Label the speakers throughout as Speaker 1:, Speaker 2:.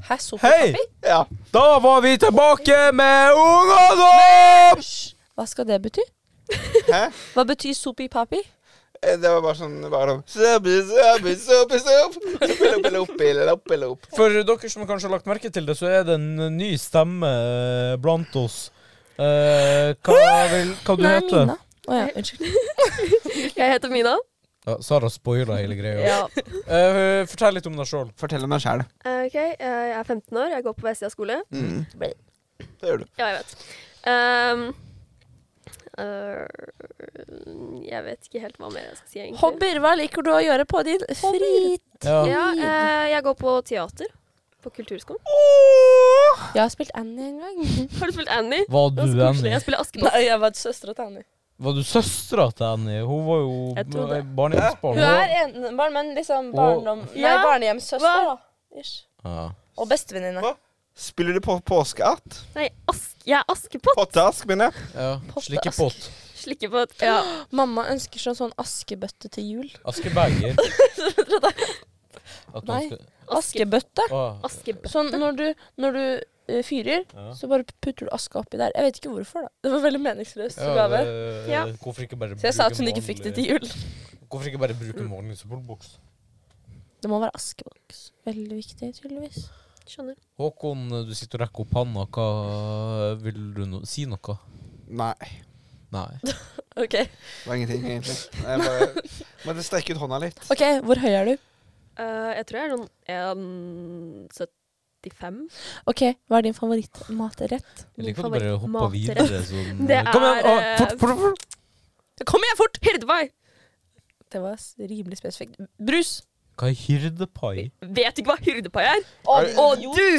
Speaker 1: Hæ,
Speaker 2: Hei!
Speaker 1: sopapapir?
Speaker 3: Ja.
Speaker 2: Da var vi tilbake med ungene!
Speaker 1: Hva skal det bety?
Speaker 3: Hæ?
Speaker 1: Hva betyr sopi-papi?
Speaker 3: Eh, Det var bare sånn bare Søbi, søbi, søbi, søbi. Loppe, loppe, loppe, loppe.
Speaker 2: For dere som kanskje har lagt merke til det, så er det en ny stemme eh, blant oss. Eh, hva vil hva du
Speaker 1: Nei,
Speaker 2: heter
Speaker 1: Mina. Å ja, unnskyld.
Speaker 4: Jeg heter Mina.
Speaker 2: Ja, Sara spoila hele greia.
Speaker 4: Ja.
Speaker 2: Eh, fortell litt om deg sjøl.
Speaker 3: Fortell om deg sjæl.
Speaker 4: Eh, Ok, eh, Jeg er 15 år, jeg går på Vestia skole.
Speaker 3: Mm. Det gjør du.
Speaker 4: Ja, jeg vet. Ehm, eh, jeg vet ikke helt hva mer jeg skal si, egentlig.
Speaker 1: Hobbyer, hva liker du å gjøre på din fritid?
Speaker 2: Ja.
Speaker 4: Ja, eh, jeg går på teater på Kulturskolen.
Speaker 1: Jeg har spilt Annie en gang.
Speaker 4: Har du spilt Annie?
Speaker 2: Var du
Speaker 4: Det var så koselig.
Speaker 2: Annie?
Speaker 4: Jeg spiller Askepott.
Speaker 1: Nei, jeg var søstera til Annie.
Speaker 2: Var du søstera til Annie? Hun var
Speaker 4: Jeg
Speaker 2: jo eh,
Speaker 4: tror det.
Speaker 2: barnehjemsbarn.
Speaker 1: Hun er enebarn, men liksom barndom... Nei,
Speaker 4: Ja.
Speaker 1: barnehjemssøster,
Speaker 4: Hva?
Speaker 1: da. Ish.
Speaker 2: Ja.
Speaker 1: Og bestevenninne.
Speaker 3: Hva? Spiller du på påskehatt?
Speaker 4: Nei, ask, jeg er Askepott.
Speaker 3: Potteask, mener jeg.
Speaker 2: Ja.
Speaker 1: Potte-
Speaker 2: Slikkepott.
Speaker 4: Slikker på et ja.
Speaker 1: Mamma ønsker seg en sånn askebøtte til jul.
Speaker 2: Askeberger. At
Speaker 1: Nei.
Speaker 2: man skal-
Speaker 4: Aske,
Speaker 1: Askebøtte?
Speaker 2: Å,
Speaker 4: Askebøtte.
Speaker 1: Sånn når du, når du eh, fyrer,
Speaker 2: Ja.
Speaker 1: så bare putter du aska oppi der. Jeg vet ikke hvorfor, da. Det var veldig meningsløs
Speaker 2: ja,
Speaker 1: gave.
Speaker 2: det-
Speaker 4: Ja.
Speaker 2: Hvorfor ikke bare
Speaker 1: Så jeg sa
Speaker 2: bruke
Speaker 1: at hun ikke fikk
Speaker 2: vanlig-
Speaker 1: det til jul.
Speaker 2: Hvorfor ikke bare bruke vanlig symbolboks?
Speaker 1: Det må være askeboks. Veldig viktig, tydeligvis.
Speaker 4: Skjønner.
Speaker 2: Håkon, du sitter og rekker opp handa. Hva vil du nå? Si noe.
Speaker 3: Nei.
Speaker 2: Nei.
Speaker 1: Ok,
Speaker 3: Det var ingenting, egentlig. Jeg bare måtte strekke ut hånda litt.
Speaker 1: Ok, hvor høy er du?
Speaker 4: Eh, jeg tror jeg er sånn 1,75.
Speaker 1: Ok, Hva er din favorittmatrett?
Speaker 2: Jeg
Speaker 4: Min
Speaker 2: liker at du bare hopper
Speaker 4: favorittmatrett.
Speaker 2: videre sånn.
Speaker 4: Det
Speaker 2: Kom igjen!
Speaker 4: er,
Speaker 2: å, fort,
Speaker 4: eh,
Speaker 2: fort, fort!
Speaker 1: Kom igjen, fort!
Speaker 4: Hirdepai!
Speaker 1: Det var s- rimelig spesifikt. Brus!
Speaker 2: Hva er hyrdepai?
Speaker 4: Vet du ikke hva hirdepai er?
Speaker 1: Og,
Speaker 3: Er-
Speaker 1: og du!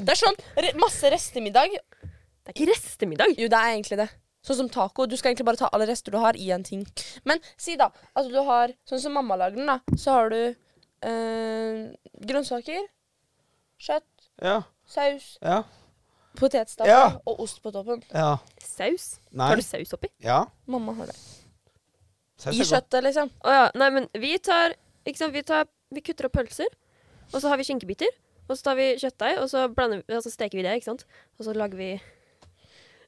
Speaker 1: Det er sånn re masse restemiddag.
Speaker 4: Det er ikke restemiddag.
Speaker 1: Jo, det er egentlig det. Sånn som taco. Du skal egentlig bare ta alle rester du har, i en ting. Men si da at du har Sånn som mamma lager den, da. Så har du eh, grønnsaker, kjøtt,
Speaker 3: Ja.
Speaker 1: saus,
Speaker 3: Ja.
Speaker 1: potetstappe
Speaker 3: Ja.
Speaker 1: og ost på toppen.
Speaker 3: Ja.
Speaker 4: Saus?
Speaker 3: Nei.
Speaker 4: Tar du saus oppi?
Speaker 3: Ja.
Speaker 1: Mamma har det.
Speaker 3: Saus
Speaker 1: I
Speaker 3: er godt.
Speaker 1: kjøttet, liksom.
Speaker 4: Å ja. Nei, men vi tar Ikke sant, vi tar Vi kutter opp pølser, og så har vi skinkebiter. Og så tar vi kjøttdeig, og så blander vi, og så steker vi det, ikke sant. Og så lager vi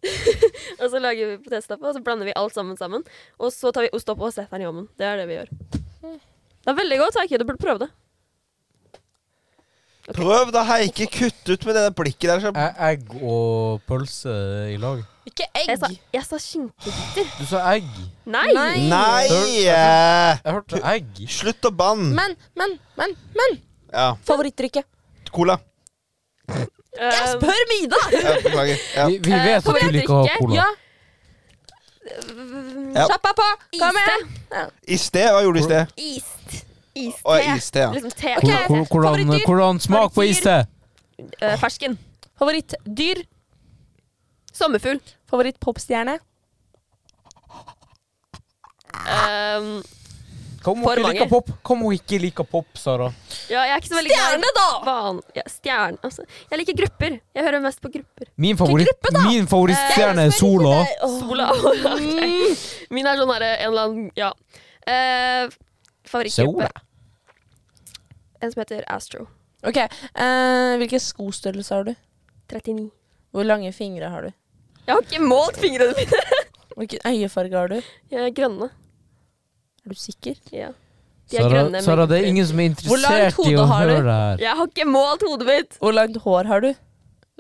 Speaker 4: Og så lager vi potetstappe, og så blander vi alt sammen sammen. Og så tar vi ost opp og setter den i ovnen. Det er det vi gjør. Det er veldig godt, Heikki. Du burde prøve det.
Speaker 3: Prøv da, Heike. Kutt ut med det der blikket der. så-
Speaker 2: E- Egg og pølse i lag.
Speaker 1: Ikke
Speaker 4: Jeg sa,
Speaker 1: egg.
Speaker 4: jeg sa skinkebiter.
Speaker 2: Du sa egg.
Speaker 4: Nei!
Speaker 1: Nei.
Speaker 3: Nei! eh,
Speaker 2: Jeg hørte egg.
Speaker 3: Slutt å banne.
Speaker 1: Men, men, men, men.
Speaker 3: Ja.
Speaker 1: Favorittdrikke.
Speaker 3: Cola.
Speaker 1: Jeg
Speaker 4: Eh,
Speaker 1: spør Mida!
Speaker 3: Ja, beklager. Ja.
Speaker 2: Vi, vi vet
Speaker 4: kom
Speaker 2: at du
Speaker 4: igjen,
Speaker 2: liker å ha
Speaker 4: drikke.
Speaker 2: cola.
Speaker 1: Eh, Ja,
Speaker 3: Ja.
Speaker 1: kjappa på! Kom
Speaker 4: Iste.
Speaker 1: igjen!
Speaker 3: I sted? Hva gjorde du i sted?
Speaker 4: Ist.
Speaker 3: Å,
Speaker 4: Iste.
Speaker 3: ja, i sted, ja.
Speaker 4: Liksom te.
Speaker 1: Ok.
Speaker 2: Hvor- hvor- Hvordan,
Speaker 1: Favorittdyr.
Speaker 2: hvordan smak på is det?
Speaker 4: Eh, fersken.
Speaker 1: Favorittdyr.
Speaker 4: Sommerfugl.
Speaker 1: Favorittpopstjerne.
Speaker 4: Eh,
Speaker 2: Hva om
Speaker 4: For
Speaker 2: hun ikke liker
Speaker 4: mange.
Speaker 2: pop? Hva om hun ikke liker pop, Sara?
Speaker 4: ja, jeg er ikke så veldig glad i-
Speaker 1: Stjerne, da!
Speaker 4: Van, ja, stjerne. Altså, jeg liker grupper. Jeg hører mest på grupper.
Speaker 2: Min, favoritt, min
Speaker 1: Eh,
Speaker 2: favorittstjerne er Sola.
Speaker 4: Sola og Min er sånn derre en eller annen Ja. Eh,
Speaker 2: Sola.
Speaker 4: favorittgruppe. En som heter Astro.
Speaker 1: Ok, eh, Hvilken skostørrelse har du?
Speaker 4: 39.
Speaker 1: Hvor lange fingre har du?
Speaker 4: Jeg har ikke målt fingrene mine.
Speaker 1: Hvilken øyefarge har du?
Speaker 4: Jeg er grønne.
Speaker 1: Er du sikker?
Speaker 4: Ja. De er
Speaker 2: Sara,
Speaker 4: grønne,
Speaker 2: Sara,
Speaker 4: men-
Speaker 2: det er ingen som er
Speaker 1: Hvor langt
Speaker 2: interessert i
Speaker 1: hode
Speaker 2: å
Speaker 1: har du?
Speaker 2: høre det her.
Speaker 4: Jeg har ikke målt hodet mitt
Speaker 1: Hvor langt hår har du?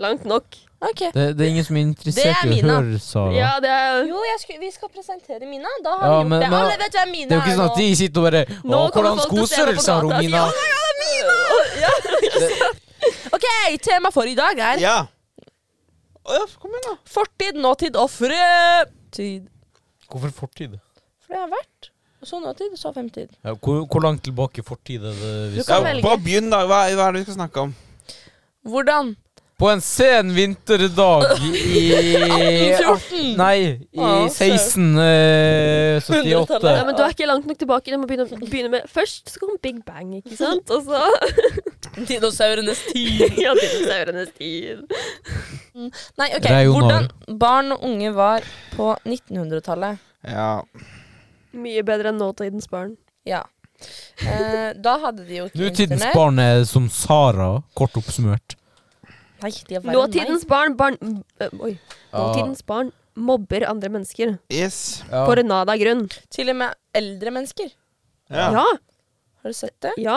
Speaker 4: langt nok.
Speaker 1: Ok.
Speaker 2: Det, det er ingen som er
Speaker 1: Det
Speaker 2: interessert
Speaker 1: er
Speaker 2: i å
Speaker 1: Mina.
Speaker 2: høre Sara.
Speaker 4: Ja, det er
Speaker 1: Jo, jeg skulle- vi skal presentere Mina. Da har
Speaker 2: Ja,
Speaker 1: vi gjort
Speaker 2: men-
Speaker 1: det.
Speaker 2: men-
Speaker 1: Alle vet hvem Mina
Speaker 2: Det er jo ikke sånn at de sitter og bare Å,
Speaker 4: Nå kommer
Speaker 2: hvordan
Speaker 4: folk til å se meg på
Speaker 2: skostørrelse har hun,
Speaker 4: gata og si,
Speaker 2: Mina?
Speaker 4: «Å
Speaker 1: nå. Ok, Tema for i dag er
Speaker 3: Ja. Å ja, kom igjen, da.
Speaker 1: fortid, nåtid og fremtid.
Speaker 2: Hvorfor fortid?
Speaker 1: For det har vært så nåtid, så fremtid.
Speaker 2: Ja, hvor, hvor langt tilbake i fortid er det? vi
Speaker 1: Du
Speaker 2: skal-
Speaker 1: kan
Speaker 3: Ja,
Speaker 1: velge.
Speaker 3: bare begynn, da. Hva, hva er det vi skal snakke om?
Speaker 1: Hvordan?
Speaker 2: På en sen vinterdag i
Speaker 1: 1814.
Speaker 2: Nei, i eh,
Speaker 1: Å, søren.
Speaker 2: 1678.
Speaker 4: Ja, men du er ikke langt nok tilbake. Du må begynne, begynne med Først så kom Big Bang, ikke sant? Og så
Speaker 1: Dinosaurenes tid.
Speaker 4: Ja, dinosaurenes tid.
Speaker 1: Nei, ok.
Speaker 2: Reionar.
Speaker 1: Hvordan barn og unge var på 1900-tallet.
Speaker 3: Ja.
Speaker 4: Mye bedre enn nåtidens barn.
Speaker 1: Ja. Eh, da hadde de jo ikke
Speaker 2: Nutidens
Speaker 1: internett.
Speaker 2: barn er som Sara, kort oppsummert.
Speaker 1: Nei, de er verre enn meg.
Speaker 4: Nåtidens barn, barn øh, Oi. Nåtidens barn mobber andre mennesker
Speaker 3: Yes.
Speaker 2: Ja.
Speaker 4: på renada grunn.
Speaker 1: Til og med eldre mennesker.
Speaker 3: Ja.
Speaker 4: Ja.
Speaker 1: Har du sett det?
Speaker 4: ja.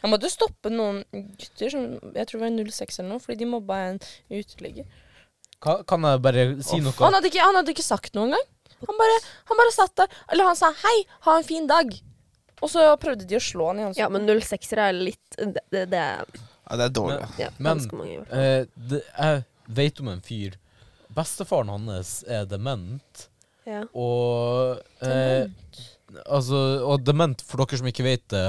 Speaker 1: Jeg måtte stoppe noen gutter som jeg tror var 06 eller noe, fordi de mobba en uteligger.
Speaker 2: Kan, kan jeg bare si noe?
Speaker 1: Han, hadde ikke- han hadde ikke sagt noe engang. Han bare, han bare satt der. Eller han sa 'hei, ha en fin dag'. Og så prøvde de å slå han i ansiktet.
Speaker 4: ja, men 06-ere er litt Det, det, det er
Speaker 3: ja, det er dårlig. altså.
Speaker 4: ja,
Speaker 2: Men-
Speaker 4: ganske mange. år.
Speaker 2: Eh, det, jeg vet om en fyr. Bestefaren hans er dement,
Speaker 4: Ja.
Speaker 2: og eh, Altså, og dement, for dere som ikke vet det,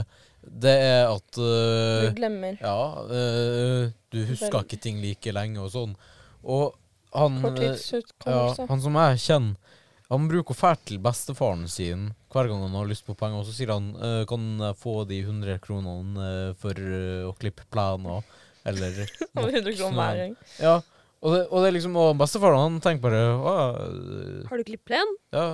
Speaker 2: det er at eh,
Speaker 1: Du glemmer.
Speaker 2: Ja, eh, du husker ikke ting like lenge og sånn. Og han eh, ja,
Speaker 1: Korttidsutkommelse.
Speaker 2: Han som jeg kjenner, han bruker å fære til bestefaren sin hver gang han har lyst på penger, og så sier han eh, kan jeg få de 100 kronene eh, for eh, å klippe plener, eller
Speaker 1: Over 100 kroner
Speaker 2: Sånn.
Speaker 1: hver gang.
Speaker 2: Ja, og det, og det er liksom, og bestefaren han tenker bare å, ja,
Speaker 4: Har du klippet plen?
Speaker 2: ja,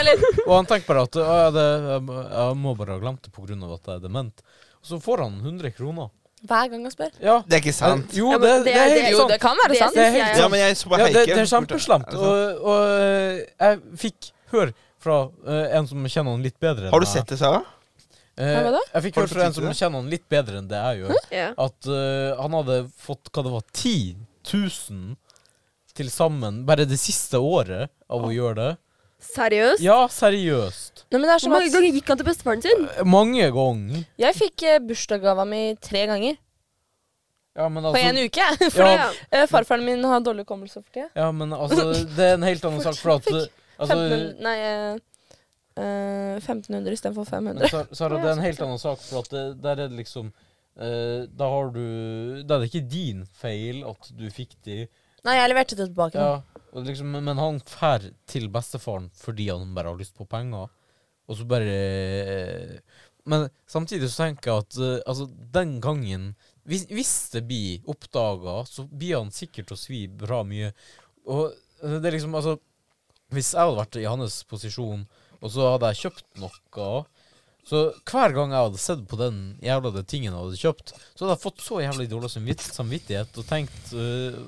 Speaker 1: Eller
Speaker 2: og han tenker bare at «Å, ja, det, jeg, må- jeg må bare ha glemt det pga. at jeg er dement. Og så får han 100 kroner.
Speaker 1: hver gang han spør.
Speaker 2: Ja.
Speaker 3: Det er ikke sant.
Speaker 2: Jo,
Speaker 4: Ja, men
Speaker 2: det,
Speaker 4: det
Speaker 2: det
Speaker 4: er-
Speaker 2: er
Speaker 4: det er
Speaker 2: helt
Speaker 1: Jo,
Speaker 2: sant.
Speaker 1: det kan være
Speaker 4: Det
Speaker 1: sant.
Speaker 2: Det er helt
Speaker 3: Ja, men jeg så på
Speaker 2: Ja,
Speaker 3: Heike.
Speaker 2: det, det er
Speaker 3: som spurte.
Speaker 2: kjempeslemt.
Speaker 3: Er det sant?
Speaker 2: Og, og eh, jeg fikk hør fra eh, en som kjenner han litt bedre enn
Speaker 3: Har du
Speaker 2: meg.
Speaker 3: sett det, Sara?
Speaker 2: Eh,
Speaker 1: Hva var det?
Speaker 2: jeg fikk
Speaker 3: Har du
Speaker 2: hør fra en
Speaker 3: fått
Speaker 2: som
Speaker 3: vite det?
Speaker 2: kjenner han litt bedre enn det jeg gjør,
Speaker 4: Ja.
Speaker 2: at eh, han hadde fått hva det var, 10 000 til sammen bare det siste året av å gjøre det.
Speaker 4: Seriøst?
Speaker 2: Ja, seriøst.
Speaker 1: Nei, men det er
Speaker 4: Hvor
Speaker 1: som
Speaker 4: mange
Speaker 1: at
Speaker 4: ganger gikk han til bestefaren sin?
Speaker 2: Mange ganger.
Speaker 1: jeg fikk eh, bursdagsgava mi tre ganger
Speaker 2: Ja, men
Speaker 1: på én
Speaker 2: altså,
Speaker 1: uke. For
Speaker 2: Ja.
Speaker 4: Ja.
Speaker 1: eh, farfaren min har dårlig hukommelse for tida.
Speaker 2: ja, men altså det er en helt annen sak, for at eh, altså,
Speaker 1: 1500, nei, eh, eh, 1500 istedenfor 500.
Speaker 2: Men Sara, Sara, det er en helt annen sak, for at det, der er det liksom eh, Da har du Da er det ikke din feil at du fikk de
Speaker 1: Nei, jeg leverte det tilbake. nå.
Speaker 2: ja, og liksom, Men men han fær til bestefaren fordi han bare har lyst på penger, og så bare eh, Men samtidig så tenker jeg at eh, altså, den gangen hvis, hvis det blir oppdaga, så blir han sikkert å svi bra mye. Og eh, det er liksom, altså Hvis jeg hadde vært i hans posisjon, og så hadde jeg kjøpt noe så hver gang jeg hadde sett på den jævla det tingen jeg hadde kjøpt, så hadde jeg fått så jævlig dårlig samvitt, samvittighet og tenkt øh,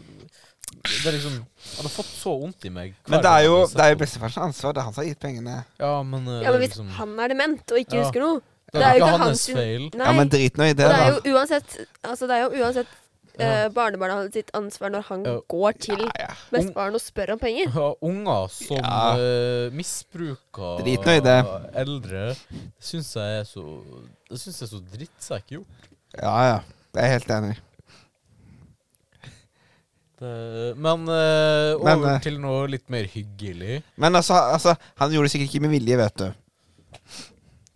Speaker 2: Det er liksom Jeg hadde fått så vondt i meg. hver
Speaker 3: Men det
Speaker 2: gang
Speaker 3: er
Speaker 2: jeg
Speaker 3: jo,
Speaker 2: hadde sett
Speaker 3: det er jo
Speaker 2: på den.
Speaker 3: bestefarens ansvar. Det er han som har gitt pengene.
Speaker 2: Ja, men, øh,
Speaker 4: Ja, men
Speaker 2: det er
Speaker 4: hvis
Speaker 2: liksom,
Speaker 4: han er dement og ikke
Speaker 2: Ja.
Speaker 4: husker noe
Speaker 2: Det er jo ikke hans
Speaker 4: sin-
Speaker 2: feil.
Speaker 4: Nei.
Speaker 3: Ja, men drit nå i det,
Speaker 4: og det er
Speaker 3: da.
Speaker 4: jo uansett, altså, det er jo uansett
Speaker 2: Ja.
Speaker 4: eh, barnebarnet sitt ansvar når han
Speaker 2: Ja.
Speaker 4: går til
Speaker 3: Ja, ja.
Speaker 4: bestefaren og spør om penger.
Speaker 2: Ja, unger som
Speaker 3: Ja.
Speaker 2: øh, misbruker
Speaker 3: Drit nå i det.
Speaker 2: eldre, syns jeg er så Det syns jeg er så drittsekk gjort.
Speaker 3: ja, ja. Jeg er helt enig.
Speaker 2: Det- eh, Men øh,
Speaker 3: Men,
Speaker 2: over
Speaker 3: øh,
Speaker 2: til noe litt mer hyggelig.
Speaker 3: Men altså, altså han gjorde det sikkert ikke med vilje, vet du.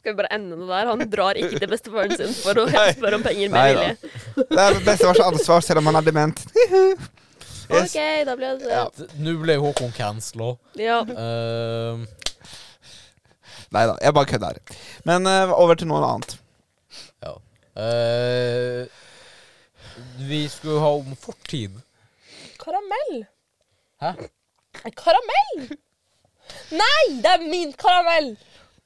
Speaker 4: Skal vi bare ende det der? Han drar ikke til bestefaren sin for å
Speaker 3: Nei.
Speaker 4: spørre om penger med
Speaker 3: Nei da.
Speaker 4: vilje.
Speaker 3: Det er bestefars ansvar, selv om han er dement. Yes.
Speaker 4: OK, da ble det
Speaker 3: Ja.
Speaker 2: D- Nå ble Håkon cancela.
Speaker 4: Ja.
Speaker 2: Uh,
Speaker 3: Nei da, jeg bare kødder. Men eh, over til noe annet.
Speaker 2: Ja. Eh, vi skulle ha om fortid.
Speaker 1: Karamell!
Speaker 2: Hæ?
Speaker 1: Nei, Karamell! Nei, det er min karamell!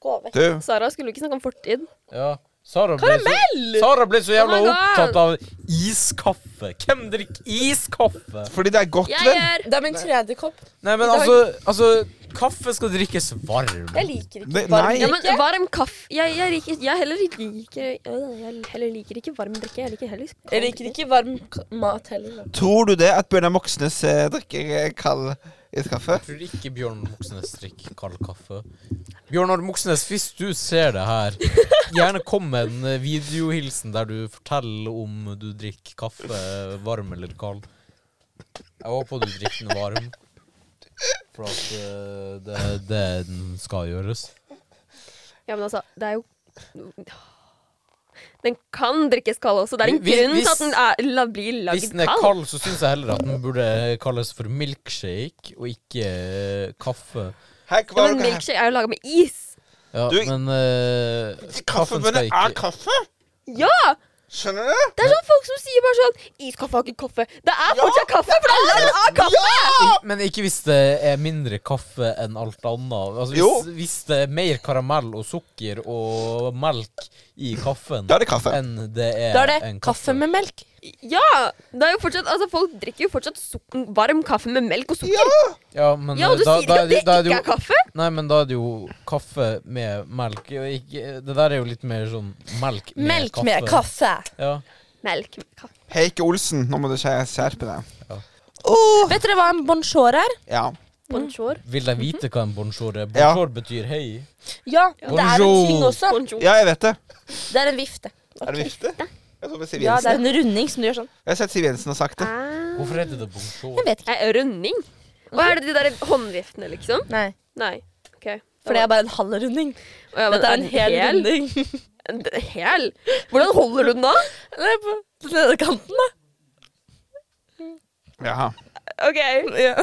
Speaker 1: Gå vekk.
Speaker 3: Du,
Speaker 4: Sara skulle jo ikke snakke om fortid.
Speaker 2: Ja. Sara ble, så, Sara ble så jævla
Speaker 4: Oh my God!
Speaker 2: opptatt av iskaffe. Hvem drikker iskaffe?
Speaker 3: fordi det er godt,
Speaker 4: Jeg
Speaker 3: vel?
Speaker 4: er
Speaker 1: Det er min tredje kopp.
Speaker 2: Nei, men
Speaker 1: I dag-
Speaker 2: altså, altså Kaffe skal drikkes varm.
Speaker 1: Jeg liker ikke
Speaker 3: Det-
Speaker 1: varm
Speaker 3: nei.
Speaker 4: ja, men
Speaker 1: drikke.
Speaker 4: varm kaffe Jeg, jeg, liker, jeg heller ikke liker Jeg heller liker ikke varm drikke. Jeg liker heller kald
Speaker 1: Jeg liker
Speaker 4: drikke.
Speaker 1: ikke varm k- mat heller.
Speaker 3: Tror du det at Bjørnar Moxnes eh, drikker eh, kald iskaffe?
Speaker 2: Jeg tror ikke Bjørn Moxnes drikker kald kaffe. Bjørnar Moxnes, hvis du ser det her, gjerne kom med en eh, videohilsen der du forteller om du drikker kaffe varm eller kald. Jeg håper du drikker den varm. For at eh, det, det den skal gjøres.
Speaker 4: Ja, men altså, det er jo Den kan drikkes kald også. Det er en
Speaker 2: Hvis-
Speaker 4: grunn til
Speaker 2: hvis-
Speaker 4: at den er, la, blir
Speaker 2: Hvis
Speaker 4: lagd
Speaker 2: den er
Speaker 4: kald.
Speaker 2: kald, så syns jeg heller at den burde kalles for milkshake, og ikke eh, kaffe.
Speaker 3: Hei,
Speaker 4: Ja,
Speaker 3: hva er
Speaker 4: men
Speaker 3: det her?
Speaker 4: milkshake er jo laga med is.
Speaker 2: Ja,
Speaker 3: Du-
Speaker 2: men eh, kaffen skal
Speaker 3: Kaffebønner er
Speaker 2: ikke
Speaker 3: kaffe?
Speaker 4: Ja!
Speaker 3: Skjønner du?
Speaker 4: Det er sånn folk som sier bare sånn Iskaffe har ikke kaffe. Det er
Speaker 3: Ja,
Speaker 4: fortsatt kaffe, for det er land av kaffe!
Speaker 2: Ik- Men ikke hvis det er mindre kaffe enn alt annet. Altså,
Speaker 3: Jo.
Speaker 2: hvis, hvis det er mer karamell og sukker og melk i kaffen
Speaker 3: Da er det kaffe.
Speaker 2: enn det er,
Speaker 1: Da er det
Speaker 2: en
Speaker 1: kaffe med melk.
Speaker 4: Ja! Det er jo fortsatt, altså Folk drikker jo fortsatt suk varm kaffe med melk og sukker.
Speaker 3: Ja!
Speaker 2: Ja, men,
Speaker 4: Ja,
Speaker 2: eh,
Speaker 4: og du
Speaker 2: da,
Speaker 4: sier
Speaker 2: da,
Speaker 4: ikke at det
Speaker 2: da er det
Speaker 4: ikke er
Speaker 2: jo,
Speaker 4: kaffe?
Speaker 2: Nei, men da er det jo kaffe med melk. og Ikke, det der er jo litt mer sånn melk med
Speaker 1: Melk
Speaker 2: kaffe.
Speaker 1: med kaffe.
Speaker 2: Ja.
Speaker 4: Melk med kaffe.
Speaker 3: Heike Olsen, nå må du skjer- skjerpe deg.
Speaker 1: Vet dere hva en bonjour er?
Speaker 3: Ja.
Speaker 4: Bonjour.
Speaker 2: Vil de vite hva en bonjour er?
Speaker 3: Ja.
Speaker 2: Bonjour betyr hei.
Speaker 1: Ja, det er en
Speaker 2: Bonjour.
Speaker 1: ting også.
Speaker 4: Bonjour.
Speaker 3: Ja, jeg vet det.
Speaker 1: Det er en vifte.
Speaker 3: Er det vifte? Jeg så på Siv
Speaker 1: Ja, det er
Speaker 3: Jensen.
Speaker 1: en runding som du gjør sånn.
Speaker 3: Jeg har sett Siv Jensen har sagt det.
Speaker 4: Ah.
Speaker 2: Hvorfor heter det
Speaker 1: Jeg
Speaker 2: bonjour?
Speaker 1: vet ikke.
Speaker 4: Er det runding? Og er det de der håndviftene, liksom?
Speaker 1: Nei,
Speaker 4: Nei. OK.
Speaker 1: for det er bare en halv runding.
Speaker 4: Å, ja, men
Speaker 1: Dette er en hel runding.
Speaker 4: En d- hel? Hvordan holder du den da?
Speaker 1: Det er på den ene kanten, da.
Speaker 3: Jaha.
Speaker 4: OK.
Speaker 1: Ja.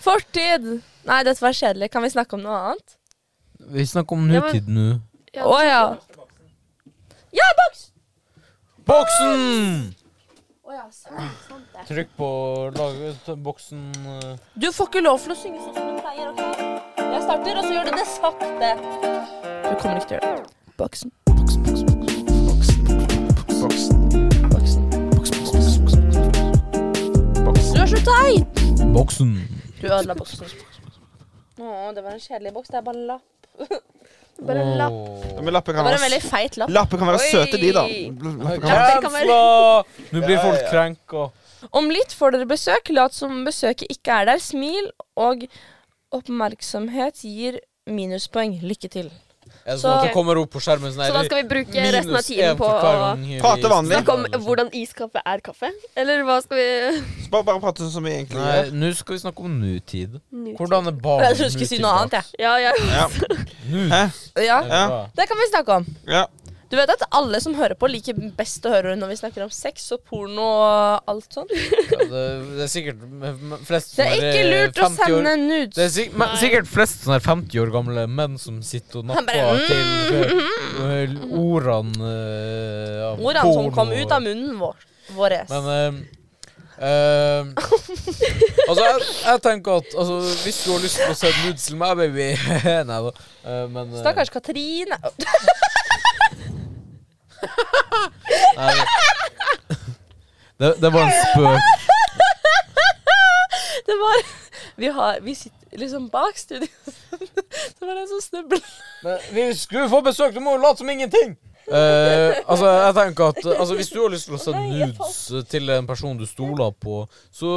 Speaker 1: Fortid. Nei, dette var kjedelig. Kan vi snakke om noe annet?
Speaker 2: Vi snakker om
Speaker 4: Ja, men-
Speaker 2: nutid nå.
Speaker 4: Ja,
Speaker 1: Å ja. Ja, boks!
Speaker 2: Boksen!
Speaker 1: sant, sant det.
Speaker 2: Trykk på laget, boksen eh.
Speaker 1: Du får ikke lov til å synge sånn som du pleier, OK? Jeg starter, og så gjør du det sakte. Du kommer ikke til å gjøre det. Boksen,
Speaker 3: Boksen, boksen, boksen, boksen,
Speaker 1: boksen.
Speaker 3: boksen, boksen, boksen, boksen,
Speaker 1: Du
Speaker 3: boksen.
Speaker 1: er så teit!
Speaker 2: Boksen.
Speaker 1: Du ødela boksen. Å, det var en kjedelig boks. Det er bare en lapp.
Speaker 4: Bare en lapp.
Speaker 3: Ja,
Speaker 2: Åh.
Speaker 3: Men lapper
Speaker 1: Det
Speaker 3: kan
Speaker 1: var en
Speaker 3: være,
Speaker 1: veldig feit lapp.
Speaker 3: lapper kan være
Speaker 4: Oi.
Speaker 3: søte, de, da. Lapper kan være-
Speaker 4: det kan være-
Speaker 2: Kjensla! Nå blir
Speaker 3: Ja,
Speaker 2: folk
Speaker 3: ja.
Speaker 2: krenka.
Speaker 1: Om litt får dere besøk. Lat som besøket ikke er der. Smil og oppmerksomhet gir minuspoeng. Lykke til.
Speaker 2: Er det
Speaker 1: Så-
Speaker 2: sånn at det kommer opp på skjermen sånn
Speaker 4: Så da skal vi bruke resten av tiden på å
Speaker 3: Prate vanlig.
Speaker 4: snakke om hvordan iskaffe er kaffe? Eller hva skal vi
Speaker 3: Bare, bare prate sånn som vi egentlig
Speaker 2: Nei,
Speaker 3: gjør.
Speaker 2: nå skal vi snakke om nutid.
Speaker 4: Nutid.
Speaker 2: Hvordan er barn
Speaker 1: Jeg trodde du skulle si noe annet, jeg.
Speaker 4: Ja, ja.
Speaker 3: Ja.
Speaker 2: Nå
Speaker 3: Hæ?
Speaker 1: Ja.
Speaker 2: er det
Speaker 3: Ja.
Speaker 2: bra.
Speaker 1: Det kan vi snakke om.
Speaker 3: Ja.
Speaker 1: Du vet at alle som hører på, liker best å høre når vi snakker om sex og porno og alt sånt.
Speaker 2: Ja, det, det er sikkert m- m- flest
Speaker 1: Det er
Speaker 2: som
Speaker 1: ikke
Speaker 2: eh,
Speaker 1: lurt å
Speaker 2: 50 år-
Speaker 1: sende
Speaker 2: Det er
Speaker 1: nudes.
Speaker 2: sik men, sikkert flest sånne her 50 år gamle menn som sitter og
Speaker 1: Han
Speaker 2: napper
Speaker 1: bare, mm,
Speaker 2: til eh, ordene eh, av
Speaker 1: Ordene altså, som
Speaker 2: porno.
Speaker 1: kom ut av munnen vår. Våres.
Speaker 2: Men eh, eh, Altså, jeg, jeg tenker at altså, hvis du har lyst til å se nudes til meg, baby Nei da. eh, men eh,
Speaker 1: Stakkars Katrine.
Speaker 2: nei, det- det, det var en spøk.
Speaker 1: Det var Vi, har, vi sitter liksom bak studio. Det var sånn den som snubla.
Speaker 2: Men vi skulle få besøk, du må jo late som ingenting! Eh, altså, jeg tenker at eh, altså, Hvis du har lyst til å sende
Speaker 1: Nei, jeg
Speaker 2: nudes til en person du stoler på, så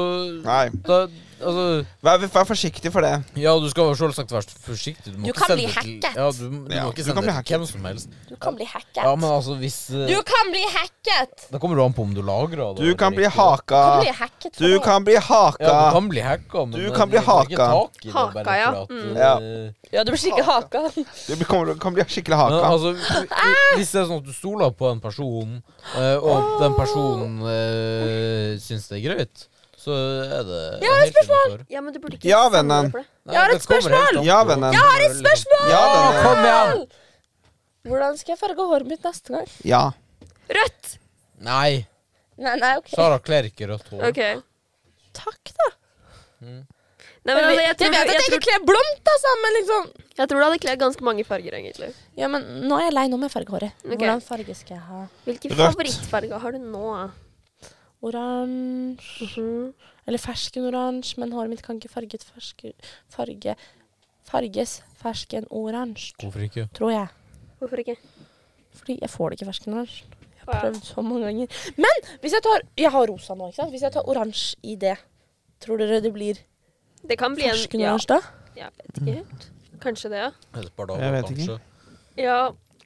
Speaker 3: Nei.
Speaker 2: da, altså,
Speaker 3: Vær, vær forsiktig for det.
Speaker 2: Ja, du skal jo selvsagt være forsiktig.
Speaker 1: Du
Speaker 2: må ikke
Speaker 1: kan
Speaker 2: sende
Speaker 1: bli
Speaker 2: det til-
Speaker 1: hacket.
Speaker 2: Ja, du, du
Speaker 3: Ja,
Speaker 2: må ikke
Speaker 3: du
Speaker 2: sende
Speaker 3: kan
Speaker 2: det til hvem
Speaker 3: bli hacket.
Speaker 2: som helst.
Speaker 1: Du kan bli hacket.
Speaker 2: Ja, men altså, hvis eh,
Speaker 1: Du kan bli hacket!
Speaker 2: Det kommer jo an på om du lagrer det.
Speaker 3: Du kan
Speaker 2: eller ikke.
Speaker 3: bli
Speaker 1: Du kan
Speaker 3: haka.
Speaker 1: bli hacket for
Speaker 3: Du
Speaker 1: det.
Speaker 3: kan bli
Speaker 2: Ja, du
Speaker 3: haka.
Speaker 2: kan bli hacka, men
Speaker 3: Du
Speaker 2: det-
Speaker 3: kan bli
Speaker 2: du tar ikke
Speaker 3: haka.
Speaker 2: tak i det bare
Speaker 4: Haka, ja.
Speaker 2: for at,
Speaker 4: Mm.
Speaker 2: eh,
Speaker 3: Ja.
Speaker 1: Ja, du blir skikkelig haka.
Speaker 3: Du blir- kommer- kan bli skikkelig
Speaker 2: Men,
Speaker 3: haka.
Speaker 2: altså, hvi- hvis det er sånn at du stoler på en person, eh, og den personen eh, syns det er greit, så er det Jeg har et spørsmål!
Speaker 4: ja, men du burde ikke
Speaker 3: Ja,
Speaker 4: samle
Speaker 3: vennen.
Speaker 4: deg for det.
Speaker 1: Jeg har et spørsmål!
Speaker 3: Ja, vennen. Jeg
Speaker 2: har et spørsmål!
Speaker 3: Ja, denne.
Speaker 2: Kom igjen!
Speaker 1: Hvordan skal jeg farge håret mitt neste gang?
Speaker 3: Ja.
Speaker 4: Rødt!
Speaker 2: Nei,
Speaker 1: Nei, nei, ok.
Speaker 2: Sara kler ikke rødt hår.
Speaker 4: OK.
Speaker 1: Takk, da.
Speaker 4: Nei, men altså, jeg, tror,
Speaker 1: vet at
Speaker 4: jeg,
Speaker 1: jeg ikke
Speaker 4: tror,
Speaker 1: kler blomst, altså, men liksom
Speaker 4: jeg tror det hadde kledd ganske mange farger, egentlig.
Speaker 1: Ja, men nå er jeg lei. Nå må jeg farge håret.
Speaker 4: Ok.
Speaker 1: Hvordan farge skal jeg ha?
Speaker 4: Hvilke
Speaker 3: Rødt.
Speaker 4: favorittfarger har du nå?
Speaker 1: Oransje
Speaker 4: Mhm.
Speaker 1: Eller fersken-oransje, men håret mitt kan ikke farget ferske, farge Farges fersken-oransje,
Speaker 2: Hvorfor ikke?
Speaker 1: tror jeg.
Speaker 4: Hvorfor ikke?
Speaker 1: Fordi jeg får det ikke fersken-oransje. Jeg
Speaker 4: Å, ja.
Speaker 1: har prøvd så mange ganger. Men hvis jeg tar Jeg har rosa nå, ikke sant? Hvis jeg tar oransje i det, tror dere det blir
Speaker 4: Det kan bli en ja,
Speaker 1: fersken-oransje da?
Speaker 4: Jeg vet ikke helt. Kanskje det, ja.
Speaker 2: Et par dager,
Speaker 3: Jeg vet
Speaker 2: kanskje.
Speaker 4: Ja,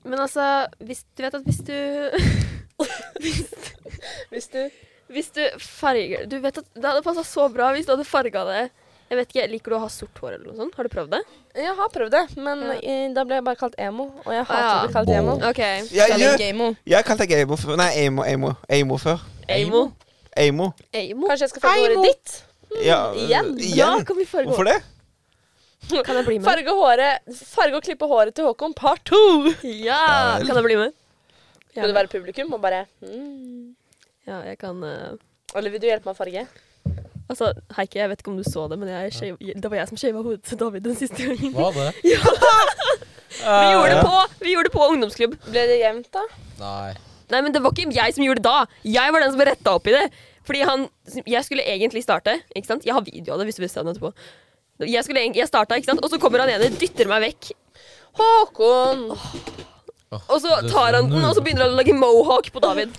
Speaker 4: men altså hvis, Du vet at hvis du
Speaker 1: Hvis du
Speaker 4: Hvis du farger Du vet at det hadde passa så bra hvis du hadde farga det Jeg vet ikke, Liker du å ha sort hår eller noe sånt? Har du prøvd det?
Speaker 1: Jeg har prøvd det, men
Speaker 4: Ja.
Speaker 1: eh, da ble jeg bare kalt emo. Og jeg hater
Speaker 4: Ah, ja.
Speaker 1: å bli kalt emo.
Speaker 4: OK.
Speaker 3: Jeg,
Speaker 1: Så jeg
Speaker 3: jeg,
Speaker 1: liker emo.
Speaker 3: jeg kalte deg Amo før. Nei, Amo, Amo, Amo før.
Speaker 4: Amo.
Speaker 3: Amo.
Speaker 4: Amo?
Speaker 1: Kanskje jeg skal farge
Speaker 3: Emo.
Speaker 1: håret ditt?
Speaker 3: Ja,
Speaker 1: Igjen?
Speaker 4: Ja,
Speaker 3: Øh, igjen?
Speaker 4: kan vi farge
Speaker 3: Hvorfor det?
Speaker 4: hår? Kan jeg bli med?
Speaker 1: Farge håret Farge og klippe håret til Håkon part to!
Speaker 4: Ja! Kan jeg bli med?
Speaker 1: Vil du være publikum og bare mm.
Speaker 4: Ja, jeg kan eh,
Speaker 1: Eller vil du hjelpe meg å farge?
Speaker 4: Altså, Heikki, jeg vet ikke om du så det, men jeg shave, det var jeg som shava hodet til David den siste gangen.
Speaker 2: Var det?
Speaker 4: Ja. Vi gjorde det
Speaker 2: Eh,
Speaker 4: på, vi gjorde det på ungdomsklubb.
Speaker 1: Ble det jevnt, da?
Speaker 2: Nei.
Speaker 4: Nei, men det var ikke jeg som gjorde det da. Jeg var den som retta opp i det. Fordi han Jeg skulle egentlig starte, ikke sant. Jeg har video av det, hvis du vil se den etterpå. Jeg, skulle, egentlig- jeg starta, ikke sant. Og så kommer han ene, dytter meg vekk.
Speaker 1: Håkon!
Speaker 2: Åh,
Speaker 4: Og så
Speaker 2: det-
Speaker 4: tar han den,
Speaker 2: nå-
Speaker 4: og så begynner han å lage mohawk på David.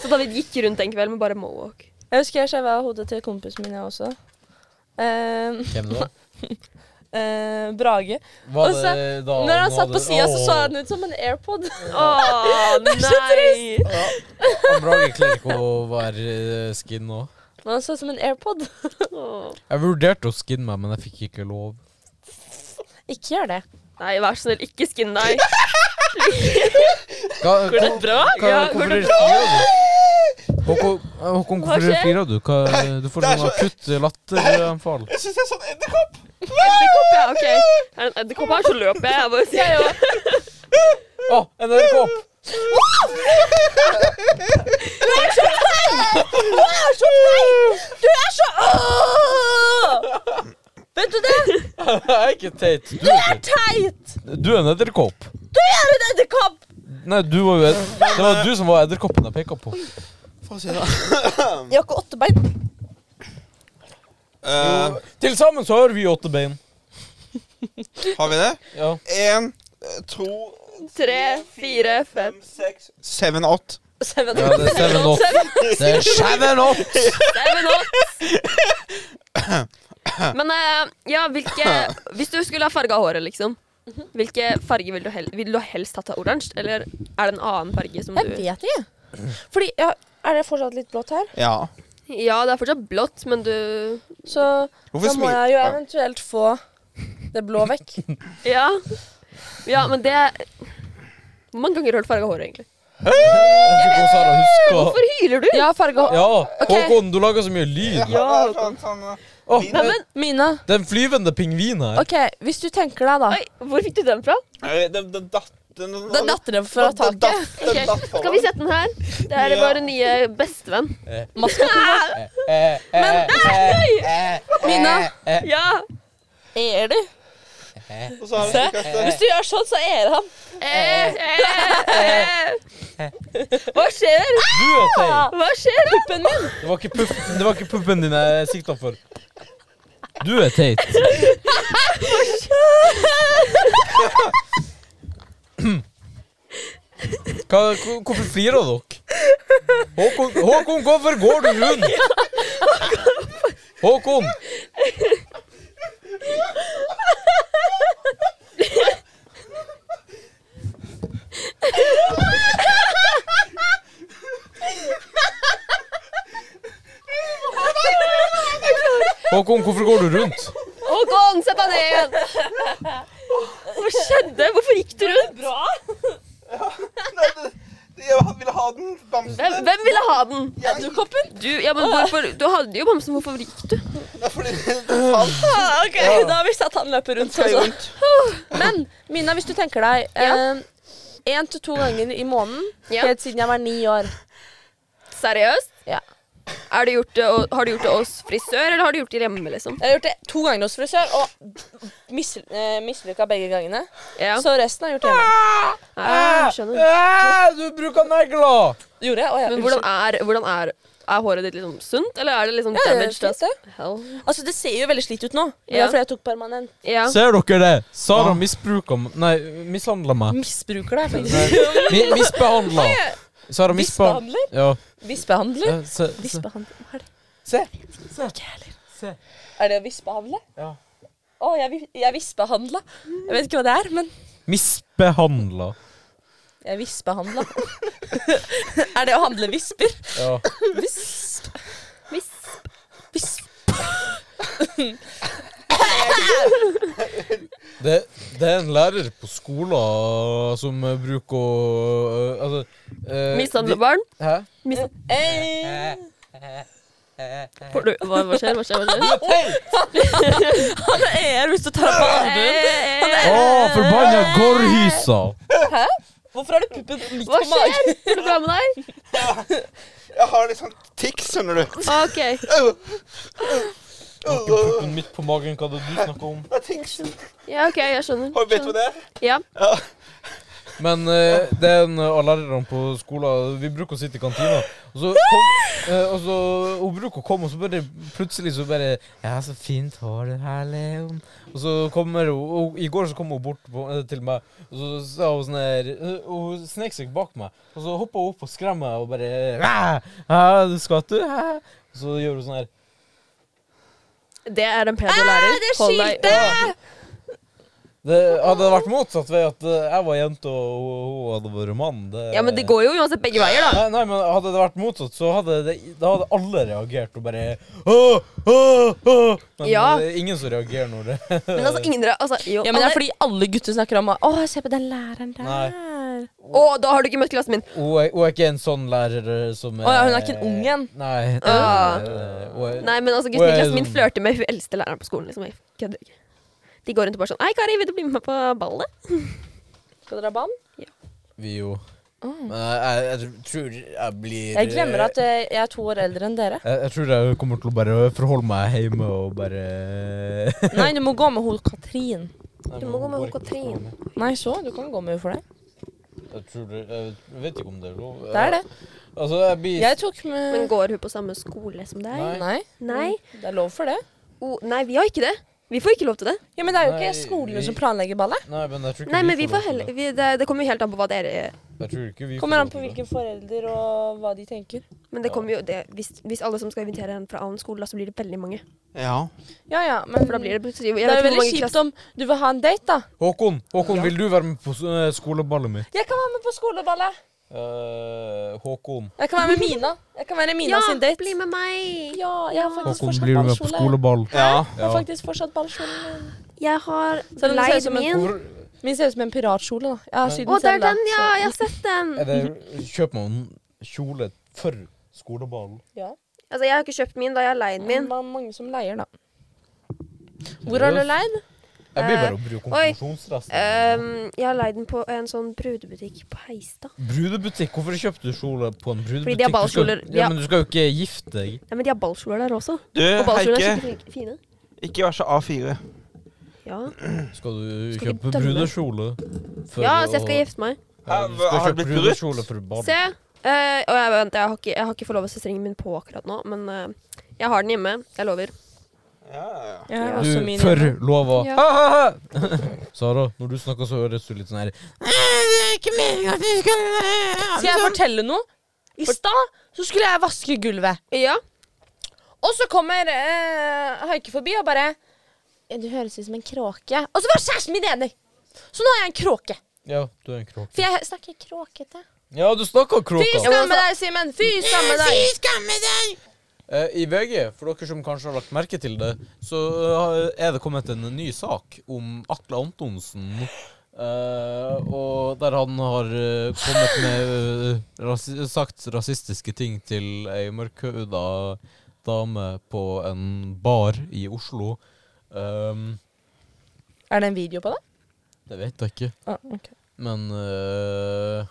Speaker 4: Så David gikk rundt en kveld med bare mohawk.
Speaker 1: Jeg husker jeg skjeva hodet til kompisen min, jeg også. Eh,
Speaker 2: Hvem da?
Speaker 1: eh, Brage.
Speaker 2: Var
Speaker 1: Og så-
Speaker 2: det da
Speaker 1: Når han
Speaker 2: var
Speaker 1: satt på
Speaker 2: det-
Speaker 1: sida, så så
Speaker 2: Åh.
Speaker 1: han ut som en airpod.
Speaker 4: Å,
Speaker 1: Det er så
Speaker 4: nei!
Speaker 2: Ja. Han Brage klarer ikke å være eh, skin nå.
Speaker 1: Men han så ut som en airpod.
Speaker 4: Åh.
Speaker 2: Jeg vurderte å skinne meg, men jeg fikk ikke lov.
Speaker 1: Ikke gjør det.
Speaker 4: Nei, vær så snill, ikke skinn deg.
Speaker 2: Hva,
Speaker 4: Går det bra?
Speaker 2: hva,
Speaker 4: Ja, går
Speaker 2: hvorfor
Speaker 4: det
Speaker 2: dere
Speaker 4: bra?
Speaker 2: flirer du? Håkon, eh, Håkon,
Speaker 4: Hva
Speaker 2: hvorfor dere
Speaker 4: skjer?
Speaker 2: flirer du? Hva, du får
Speaker 3: Det er
Speaker 2: sånn akutt latteranfall.
Speaker 3: Jeg syns jeg er sånn edderkopp!
Speaker 4: Edderkopp, ja. OK. Er det en edderkopp her, så løper jeg. jeg. Bare sier ja.
Speaker 2: Å, en edderkopp!
Speaker 1: Du er så Åh! Vet du det?
Speaker 2: Jeg er ikke teit. Du er teit.
Speaker 1: Teit!
Speaker 2: Du er en edderkopp.
Speaker 1: Er du en edderkopp?
Speaker 2: Nei, du var jo ed- Det var du som var edderkoppen jeg peka på.
Speaker 3: Få se, da.
Speaker 1: Jeg har ikke åtte bein.
Speaker 3: Eh,
Speaker 2: Til sammen så har vi åtte bein.
Speaker 3: har vi det?
Speaker 2: Ja.
Speaker 3: Én, eh, to,
Speaker 4: Tre, fire, fem
Speaker 3: seks, seven, åtte.
Speaker 1: Seven.
Speaker 2: ja det er seven off. Det er seven off!
Speaker 4: Seven knots. Men eh, ja, hvilke Hvis du skulle ha farga håret, liksom. Hvilke farger vil du, hel vil du helst hatt av oransje? Eller er det en annen farge som
Speaker 1: Jeg
Speaker 4: du
Speaker 1: vet ikke. Fordi, ja, Er det fortsatt litt blått her?
Speaker 3: Ja.
Speaker 4: Ja, det er fortsatt blått, men du
Speaker 1: Så
Speaker 3: Hvorfor
Speaker 1: da må
Speaker 3: smiler
Speaker 1: jeg jo eventuelt få det blå vekk.
Speaker 4: Ja. Ja, men det Hvor mange ganger har du farga håret, egentlig?
Speaker 2: Jeg tror ikke Sara husker.
Speaker 4: Hvorfor hyler du?
Speaker 1: Jeg har farga
Speaker 2: Ja, Håkon, du lager så mye lyd.
Speaker 3: Ja, sånn, sånn, eh,
Speaker 2: Å,
Speaker 3: Vin-
Speaker 4: Nei, men,
Speaker 1: Mina,
Speaker 2: den flyvende pingvinen her.
Speaker 1: ok, hvis du tenker deg, da
Speaker 4: oi, hvor fikk du den fra?
Speaker 3: eh, Den den datt den- den-
Speaker 1: Da datter det fra
Speaker 3: den datt-
Speaker 1: taket.
Speaker 3: Den
Speaker 4: Ok,
Speaker 3: datt fra
Speaker 4: Skal vi sette den her? Det er
Speaker 3: Ja.
Speaker 4: vår nye bestevenn.
Speaker 2: Eh, eh, eh,
Speaker 1: Mina,
Speaker 2: eh, eh.
Speaker 4: Ja!
Speaker 1: er du?
Speaker 3: meg, og så har
Speaker 1: Se.
Speaker 3: jeg kastet-
Speaker 1: Hvis du gjør sånn, så er han.
Speaker 4: Eh, eh, eh. Hva skjer?
Speaker 2: Du er teit.
Speaker 4: Hva skjer?
Speaker 1: Puppen min.
Speaker 2: Det var ikke puff- det var ikke puppen din jeg sikta for. Du er teit. Hva, hvor- hvorfor flirer dere? Håkon, Håkon, hvorfor går du rundt? Håkon! Håkon, hvorfor går du rundt?
Speaker 4: Håkon, sett deg ned! Hva skjedde? Hvorfor gikk du rundt?
Speaker 3: Nei, det- Jeg ville ha den bamsen.
Speaker 4: Hvem, hvem ville ha den?
Speaker 3: Jeg-
Speaker 4: Du, ja, men hvorfor? du hadde jo bamsen, hvorfor gikk du?
Speaker 3: Nei, fordi den falt.
Speaker 1: Ah, ok, Da har vi sett han løpe rundt.
Speaker 3: Skal jeg
Speaker 1: Sånn.
Speaker 3: rundt?
Speaker 1: Men Mina, hvis du tenker deg én til to ganger i måneden
Speaker 4: Ja.
Speaker 1: helt siden jeg var ni år
Speaker 4: Seriøst?
Speaker 1: Ja.
Speaker 4: Er det gjort det, og- har du gjort det hos frisør, eller har du gjort det hjemme,
Speaker 1: Jeg
Speaker 4: liksom?
Speaker 1: har gjort det to ganger hos frisør og mis, eh, mislykka begge gangene.
Speaker 4: Ja,
Speaker 1: Så resten har jeg gjort hjemme.
Speaker 4: ah, skjønner.
Speaker 2: Eh, du bruker negler!
Speaker 1: Gjorde jeg? Å, ja,
Speaker 4: Men hvordan
Speaker 1: unnskyld.
Speaker 4: er, hvordan er, er håret ditt liksom sunt, eller er det liksom
Speaker 1: Ja, det er
Speaker 4: damaged as
Speaker 1: slitt,
Speaker 4: hell?
Speaker 1: Altså, Det ser jo veldig slitt ut nå. Det er
Speaker 4: Ja.
Speaker 1: fordi jeg tok permanent.
Speaker 4: Ja.
Speaker 2: Ser dere det? Sara
Speaker 3: Ja.
Speaker 2: misbruker m- Nei, mishandler meg.
Speaker 1: Misbruker deg, faktisk.
Speaker 2: Mi, misbehandler. Sara misbehandler.
Speaker 1: Vispehandler?
Speaker 2: Ja.
Speaker 1: Vispehandler?
Speaker 2: eh, Se, se.
Speaker 1: Vispehandler? Hva er det?
Speaker 2: se.
Speaker 1: Ikke heller.
Speaker 2: se.
Speaker 1: Er det å vispehandle?
Speaker 2: Ja.
Speaker 1: Å, jeg, vi- jeg vispehandla. Jeg vet ikke hva det er, men
Speaker 2: Misbehandla.
Speaker 1: jeg vispehandla. er det å handle visper?
Speaker 2: Ja.
Speaker 1: Visp.
Speaker 4: Visst.
Speaker 1: Visp.
Speaker 2: Det, det er en lærer på skolen som eh, bruker å eh, Altså eh,
Speaker 4: Mishandle barn?
Speaker 2: vi- Hæ?
Speaker 4: Mis-
Speaker 1: Eh,
Speaker 4: Får du- Hva, hva skjer, hva skjer, hva skjer?
Speaker 1: han er hvis du tar ham på
Speaker 4: Eh,
Speaker 1: albuen.
Speaker 4: eh,
Speaker 2: Å, forbanna gårdhysa!
Speaker 1: Hæ? Hvorfor har du puppen midt
Speaker 4: Hva
Speaker 1: på magen?
Speaker 4: skjer? Går det bra med deg?
Speaker 3: Jeg har litt sånn tikk, skjønner du.
Speaker 4: OK.
Speaker 3: Au,
Speaker 2: Puppen midt på magen, hva hadde du snakka om?
Speaker 3: det er tics.
Speaker 4: Ja, ok, jeg skjønner.
Speaker 3: Har- Vet du hva det er?
Speaker 4: Ja.
Speaker 3: Ja.
Speaker 2: Men eh, det er en av lærerne på skolen Vi bruker å sitte i kantina, og så, kom, eh, og så Hun bruker å komme, og så bare plutselig så bare 'Ja, så fint hår du har, Leon.' Og så kommer hun og I går så kom hun bort på, eh, til meg, og så sa hun sånn her eh, og Hun snek seg bak meg, og så hoppa hun opp og skremmer meg og bare «Æ, æ, du skvatt du? Æ?» Og så gjør hun sånn her.
Speaker 4: Ah, Det er
Speaker 2: Ah,
Speaker 4: en pedo-lærer.
Speaker 1: det
Speaker 4: Hold deg-
Speaker 1: skilte!
Speaker 2: Det hadde vært motsatt ved at eh, jeg var jente og hun hun hadde vært mann. Det,
Speaker 4: Ja, men det går jo uansett begge veier, da.
Speaker 2: Nei, nei, men hadde det vært motsatt, så hadde, det, da hadde alle reagert og bare åh, åh, åh. Men
Speaker 4: Ja.
Speaker 2: det er ingen som reagerer når det
Speaker 4: Men altså, ingen dere altså, jo,
Speaker 1: Ja, men det
Speaker 4: alle-
Speaker 1: er fordi alle gutter snakker om Å, se på den læreren der.
Speaker 2: Nei.
Speaker 4: Å, da har du ikke møtt klassen min.
Speaker 2: hun er, hun er ikke en sånn lærer som
Speaker 1: Å ja, hun er ikke en ung en.
Speaker 2: Nei.
Speaker 4: Ah.
Speaker 2: det er- eh, hun er-
Speaker 4: Nei, men altså,
Speaker 2: Hun
Speaker 4: guttene i
Speaker 2: er
Speaker 4: klassen min
Speaker 2: sånn-
Speaker 4: flørter med hun eldste læreren på skolen. Liksom. Jeg kødder ikke. De går rundt og bare sånn Hei, Kari, vil du bli med meg på ballet?
Speaker 1: Skal dere ha ball?
Speaker 2: Vi jo. Men jeg, jeg, jeg tror jeg blir
Speaker 1: Jeg glemmer at eh, jeg er to år eldre enn dere.
Speaker 2: jeg, jeg tror jeg kommer til å bare forholde meg hjemme og bare
Speaker 1: Nei, du må gå med hun Katrin.
Speaker 4: Du må gå med hun Katrin.
Speaker 1: Nei, så. Du kan gå med henne for det.
Speaker 2: Jeg tror det Jeg vet ikke om det er lov.
Speaker 1: Det er det.
Speaker 2: Altså, jeg blir
Speaker 1: Jeg tok
Speaker 4: Men
Speaker 1: med
Speaker 4: går hun på samme skole som deg?
Speaker 2: Nei.
Speaker 1: Nei.
Speaker 4: Nei.
Speaker 1: Det er lov for det.
Speaker 4: Oh, nei, vi har ikke det. Vi får ikke lov til det.
Speaker 1: Ja, Men det er jo
Speaker 2: Nei,
Speaker 1: ikke skolene
Speaker 2: vi-
Speaker 1: som planlegger ballet.
Speaker 2: Nei, men jeg tror ikke
Speaker 4: Nei, men vi
Speaker 2: lov
Speaker 4: får
Speaker 2: til
Speaker 4: heller vi, det, det kommer jo helt an på hva dere
Speaker 2: det. Jeg tror ikke vi
Speaker 1: Kommer
Speaker 2: lov
Speaker 1: an på
Speaker 2: til det.
Speaker 1: hvilken forelder og hva de tenker.
Speaker 4: Men det kommer jo det, hvis, hvis alle som skal invitere en fra annen skole, da, så blir det veldig mange.
Speaker 3: Ja.
Speaker 1: Ja, ja, men
Speaker 4: For da blir det plutselig jeg
Speaker 1: det
Speaker 4: vet
Speaker 1: er
Speaker 4: ikke
Speaker 1: jo
Speaker 4: hvor
Speaker 1: veldig
Speaker 4: mange
Speaker 1: kjipt
Speaker 4: klasser-
Speaker 1: om du vil ha en date, da.
Speaker 2: Håkon, Håkon, vil du være med på s- eh, skoleballet mitt?
Speaker 1: Jeg kan være med på skoleballet.
Speaker 2: Eh, Håkon.
Speaker 1: Jeg kan være med Mina. Jeg kan være Mina
Speaker 4: Ja,
Speaker 1: sin date.
Speaker 4: bli med meg!
Speaker 1: Ja, jeg har faktisk
Speaker 2: Håkon,
Speaker 1: fortsatt
Speaker 2: blir du med på
Speaker 1: ballkjole.
Speaker 2: skoleball?
Speaker 3: Ja.
Speaker 1: Jeg har faktisk fortsatt ballkjolen min.
Speaker 4: Jeg har
Speaker 1: Selv om det ser ut
Speaker 4: leid
Speaker 1: som en
Speaker 4: min.
Speaker 2: Hvor,
Speaker 1: Min ser ut som en piratkjole, da. Jeg har sydd den
Speaker 4: Å, det er
Speaker 1: selv, da.
Speaker 4: den, ja! Jeg har sett den.
Speaker 2: er det, kjøper man kjole for skoleballen?
Speaker 1: så- Ja.
Speaker 4: Altså, jeg har ikke kjøpt min, da jeg har leid min.
Speaker 1: Det var mange som leier, da. Hvor har du leid?
Speaker 2: Jeg blir bare å bruke
Speaker 4: Eh, Oi.
Speaker 2: konfirmasjonsresten.
Speaker 4: Ehm, jeg har leid den på en sånn brudebutikk på Heistad.
Speaker 2: brudebutikk, hvorfor kjøpte du kjole på en brudebutikk?
Speaker 4: Fordi de har
Speaker 2: Du skal-
Speaker 4: ballkjoler, de
Speaker 2: Ja,
Speaker 4: har-
Speaker 2: men du skal jo ikke gifte deg.
Speaker 4: Nei, men de har ballkjoler der også.
Speaker 3: Du,
Speaker 4: Og ballkjoler er
Speaker 3: Heike,
Speaker 4: skikkelig fine.
Speaker 3: ikke vær så A4.
Speaker 4: Ja.
Speaker 2: Skal du
Speaker 4: Skal vi
Speaker 2: kjøpe
Speaker 4: dømme?
Speaker 2: brudekjole? for
Speaker 4: ja, så jeg
Speaker 2: å-
Speaker 4: skal gifte meg.
Speaker 2: Ja, du
Speaker 3: Hæ,
Speaker 2: skal
Speaker 3: har
Speaker 2: kjøpe
Speaker 3: det blitt brutt?
Speaker 2: brudekjole for ball.
Speaker 4: Se! Eh, og jeg, vent, jeg har ikke, jeg har ikke forlova søsteren min på akkurat nå, men eh, jeg har den hjemme. Jeg lover.
Speaker 3: Ja, ja.
Speaker 1: Jeg har også
Speaker 2: Du
Speaker 1: min hjemme.
Speaker 2: forlova
Speaker 4: Ja.
Speaker 2: Sara, når du snakker, så høres du litt sånn her
Speaker 1: Skal
Speaker 2: sånn.
Speaker 1: jeg fortelle noe? I stad så skulle jeg vaske gulvet.
Speaker 4: Ja.
Speaker 1: Og så kommer eh, Haike forbi og bare «Ja, Du høres ut som en kråke. Og så var kjæresten min enig! Så nå er jeg en kråke.
Speaker 2: Ja, du er en kråke.
Speaker 1: For jeg snakker kråkete.
Speaker 2: Ja, du snakker altså.
Speaker 1: Fy
Speaker 2: kråka.
Speaker 1: skamme deg, Simen! Fy skamme deg!
Speaker 2: Eh, I VG, for dere som kanskje har lagt merke til det, så eh, er det kommet en ny sak om Atle Antonsen. eh, og der han har eh, kommet med eh, rasi sagt rasistiske ting til ei mørkhuda dame på en bar i Oslo. Ehm,
Speaker 1: Er det en video på det?
Speaker 2: det vet jeg ikke.
Speaker 1: Ah, ok.
Speaker 2: Men øh,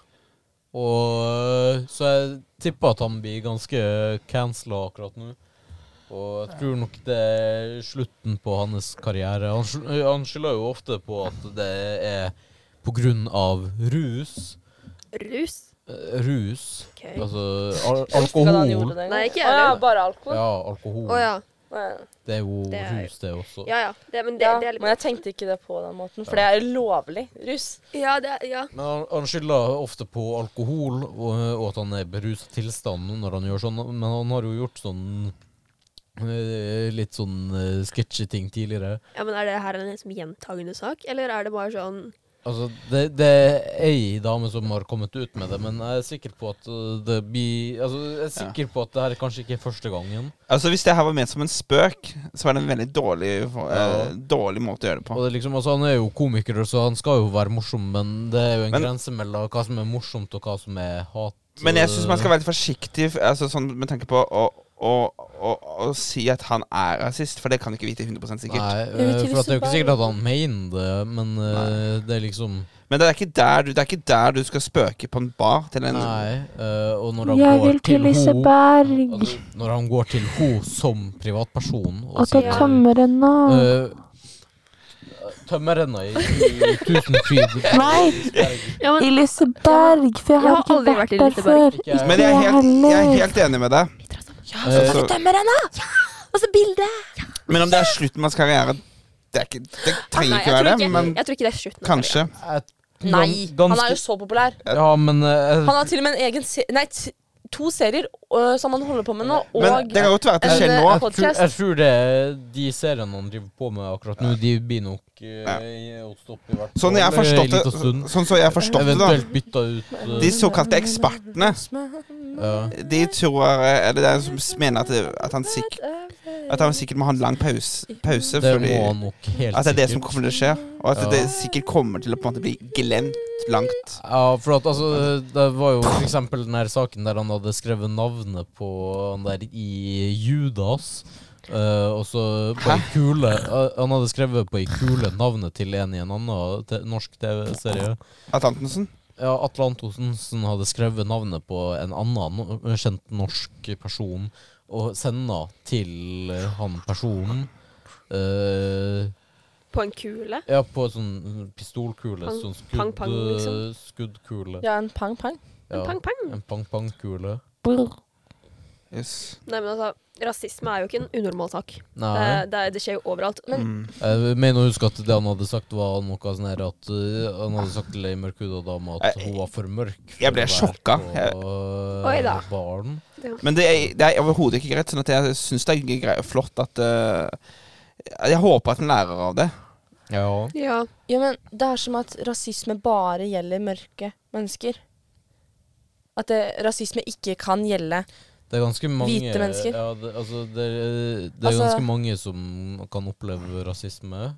Speaker 2: Og øh, Så jeg tipper at han blir ganske cancela akkurat nå. Og jeg tror nok det er slutten på hans karriere. Han, skyl- øh, han skylder jo ofte på at det er på grunn av rus.
Speaker 4: Rus.
Speaker 2: Eh, Rus.
Speaker 4: Ok.
Speaker 2: Altså al
Speaker 1: Jeg husker ikke hva han gjorde
Speaker 2: alkohol.
Speaker 1: den gangen.
Speaker 4: Nei, ikke jeg
Speaker 1: Å ja,
Speaker 4: heller.
Speaker 1: bare alkohol.
Speaker 2: Ja, alkohol.
Speaker 4: Å ja.
Speaker 1: Ja.
Speaker 2: Det er jo
Speaker 4: Det er-
Speaker 2: rus, det også.
Speaker 4: Ja ja. Det, men det,
Speaker 1: Ja,
Speaker 4: det er
Speaker 1: men jeg tenkte ikke det på den måten, for det er lovlig russ.
Speaker 4: litt Ja, det er ja.
Speaker 2: Men han, han skylder ofte på alkohol og, og at han er beruset tilstand når han gjør sånn, men han har jo gjort sånn eh, Litt sånn eh, sketchy ting tidligere.
Speaker 4: ja. Men er det her en liksom gjentagende sak, eller er det bare sånn
Speaker 2: Altså, det, det er ei dame som har kommet ut med det, men jeg er sikker på at eh, det blir Altså, jeg er sikker på at det her kanskje ikke er første gangen.
Speaker 3: Altså, Hvis det her var ment som en spøk, så var det en veldig dårlig, eh, dårlig måte å gjøre det
Speaker 2: Og
Speaker 3: på.
Speaker 2: det er liksom, altså, Han er jo komiker, så han skal jo være morsom, men det er jo en
Speaker 3: Men-
Speaker 2: grense mellom hva som er morsomt, og hva som er hat.
Speaker 3: Men jeg syns man skal være litt forsiktig altså, sånn, med tanke på å, å å, å, å si at han er rasist, for det kan du ikke vite 100 sikkert.
Speaker 2: Nei,
Speaker 1: Jeg vet
Speaker 2: eh,
Speaker 1: ikke
Speaker 2: for
Speaker 1: hvis
Speaker 2: at det er jo
Speaker 1: det
Speaker 2: ikke
Speaker 1: bare-
Speaker 2: sikkert at han mener det, men eh, det er liksom
Speaker 3: Men det er, ikke der du, det er ikke der du skal spøke på en bar til en
Speaker 2: Nei. eh, og når han går til ho
Speaker 5: Liseberg
Speaker 2: altså, Når han går til ho som privatperson og
Speaker 5: og ta
Speaker 2: sier,
Speaker 5: tømmerrenna.
Speaker 3: Øh.
Speaker 2: eh, Tømmer henne i i tusen Eh, fryd.
Speaker 5: Nei,
Speaker 4: Ja,
Speaker 5: i
Speaker 4: men,
Speaker 5: Liseberg, for jeg har ikke
Speaker 4: aldri vært
Speaker 5: vært
Speaker 4: i
Speaker 5: der
Speaker 4: Liseberg.
Speaker 5: før.
Speaker 2: Ikke jeg.
Speaker 3: Men jeg er, helt, jeg er helt enig med deg.
Speaker 2: Eh,
Speaker 3: Altså,
Speaker 1: Og så bildet!
Speaker 3: men om det er slutten av hans karriere Det, er ikke, det trenger
Speaker 4: Ah, nei,
Speaker 3: ikke
Speaker 4: jeg
Speaker 3: være
Speaker 4: tror
Speaker 3: det,
Speaker 4: ikke,
Speaker 3: men
Speaker 4: jeg tror ikke det er slutten. av
Speaker 3: kanskje.
Speaker 2: et-
Speaker 1: Nei,
Speaker 2: gans-
Speaker 1: han er jo
Speaker 2: ganske-
Speaker 1: så populær.
Speaker 2: Ja, men eh,
Speaker 1: Han har til og med en egen se Nei, t to serier øh, som han holder på med nå, og
Speaker 3: Men det kan godt være at det
Speaker 1: en,
Speaker 3: skjer
Speaker 1: eh,
Speaker 3: nå.
Speaker 2: jeg, tror,
Speaker 1: podcast.
Speaker 2: jeg tror det de seriene han driver på med akkurat nå, de blir nok eh, å stoppe i hvert fall.
Speaker 3: Sånn jeg har
Speaker 2: Eller en
Speaker 3: forstått det,
Speaker 2: liten stund.
Speaker 3: sånn så jeg har forstått det da
Speaker 2: Eventuelt bytta ut eh,
Speaker 3: De såkalte ekspertene
Speaker 2: ja.
Speaker 3: De tror Eller det er en som mener at, det, at, han, sikk, at han sikkert må ha en lang pause, pause
Speaker 2: Det
Speaker 3: fordi
Speaker 2: må han nok helt
Speaker 3: At Altså, det er det som
Speaker 2: sikkert.
Speaker 3: kommer til å skje. Og at
Speaker 2: Ja.
Speaker 3: det sikkert kommer til å på en måte bli glemt langt.
Speaker 2: Ja, for at, altså, det var jo for eksempel den her saken der han hadde skrevet navnet på han der i Judas. eh, og så på ei kule eh, Han hadde skrevet på ei kule navnet til en i en annen eh, te norsk TV-serie.
Speaker 3: Atlantensen.
Speaker 2: Ja, Atle Antonsen hadde skrevet navnet på en annen no- kjent norsk person og senda til eh, han personen. eh,
Speaker 4: karrieren. På en kule.
Speaker 2: ja, på sånn pistolkule.
Speaker 4: Pang-
Speaker 2: sånn
Speaker 4: pang,
Speaker 2: skudd,
Speaker 4: pang, liksom.
Speaker 2: skuddkule.
Speaker 1: Ja, en pang-pang.
Speaker 4: Men
Speaker 2: Ja,
Speaker 4: pang, pang.
Speaker 2: En pang-pang-kule.
Speaker 3: Yes.
Speaker 4: Nei, men altså, rasisme er jo ikke en unormal sak. Det,
Speaker 2: Nei.
Speaker 4: det, det skjer jo overalt.
Speaker 3: Mm.
Speaker 2: Jeg mener å huske at det han hadde sagt, var noe sånn her at eh, Han hadde sagt til ei mørkhuda dame at
Speaker 3: Jeg-
Speaker 2: hun var for mørk. for
Speaker 3: jeg ble
Speaker 2: å være
Speaker 3: sjokka.
Speaker 2: på,
Speaker 3: Jeg-
Speaker 2: eh,
Speaker 4: Oi da.
Speaker 2: Baren.
Speaker 3: Men det er, det er overhodet ikke greit. Sånn at jeg syns det er grei- flott at eh, Jeg håper at en lærer av det.
Speaker 2: Ja.
Speaker 4: Ja.
Speaker 1: Ja, men det er som at rasisme bare gjelder mørke mennesker. At det, rasisme ikke kan gjelde.
Speaker 2: Det er ganske mange
Speaker 1: Hvite mennesker.
Speaker 2: Ja, det, altså, det, det er
Speaker 1: Altså-
Speaker 2: ganske mange som kan oppleve rasisme.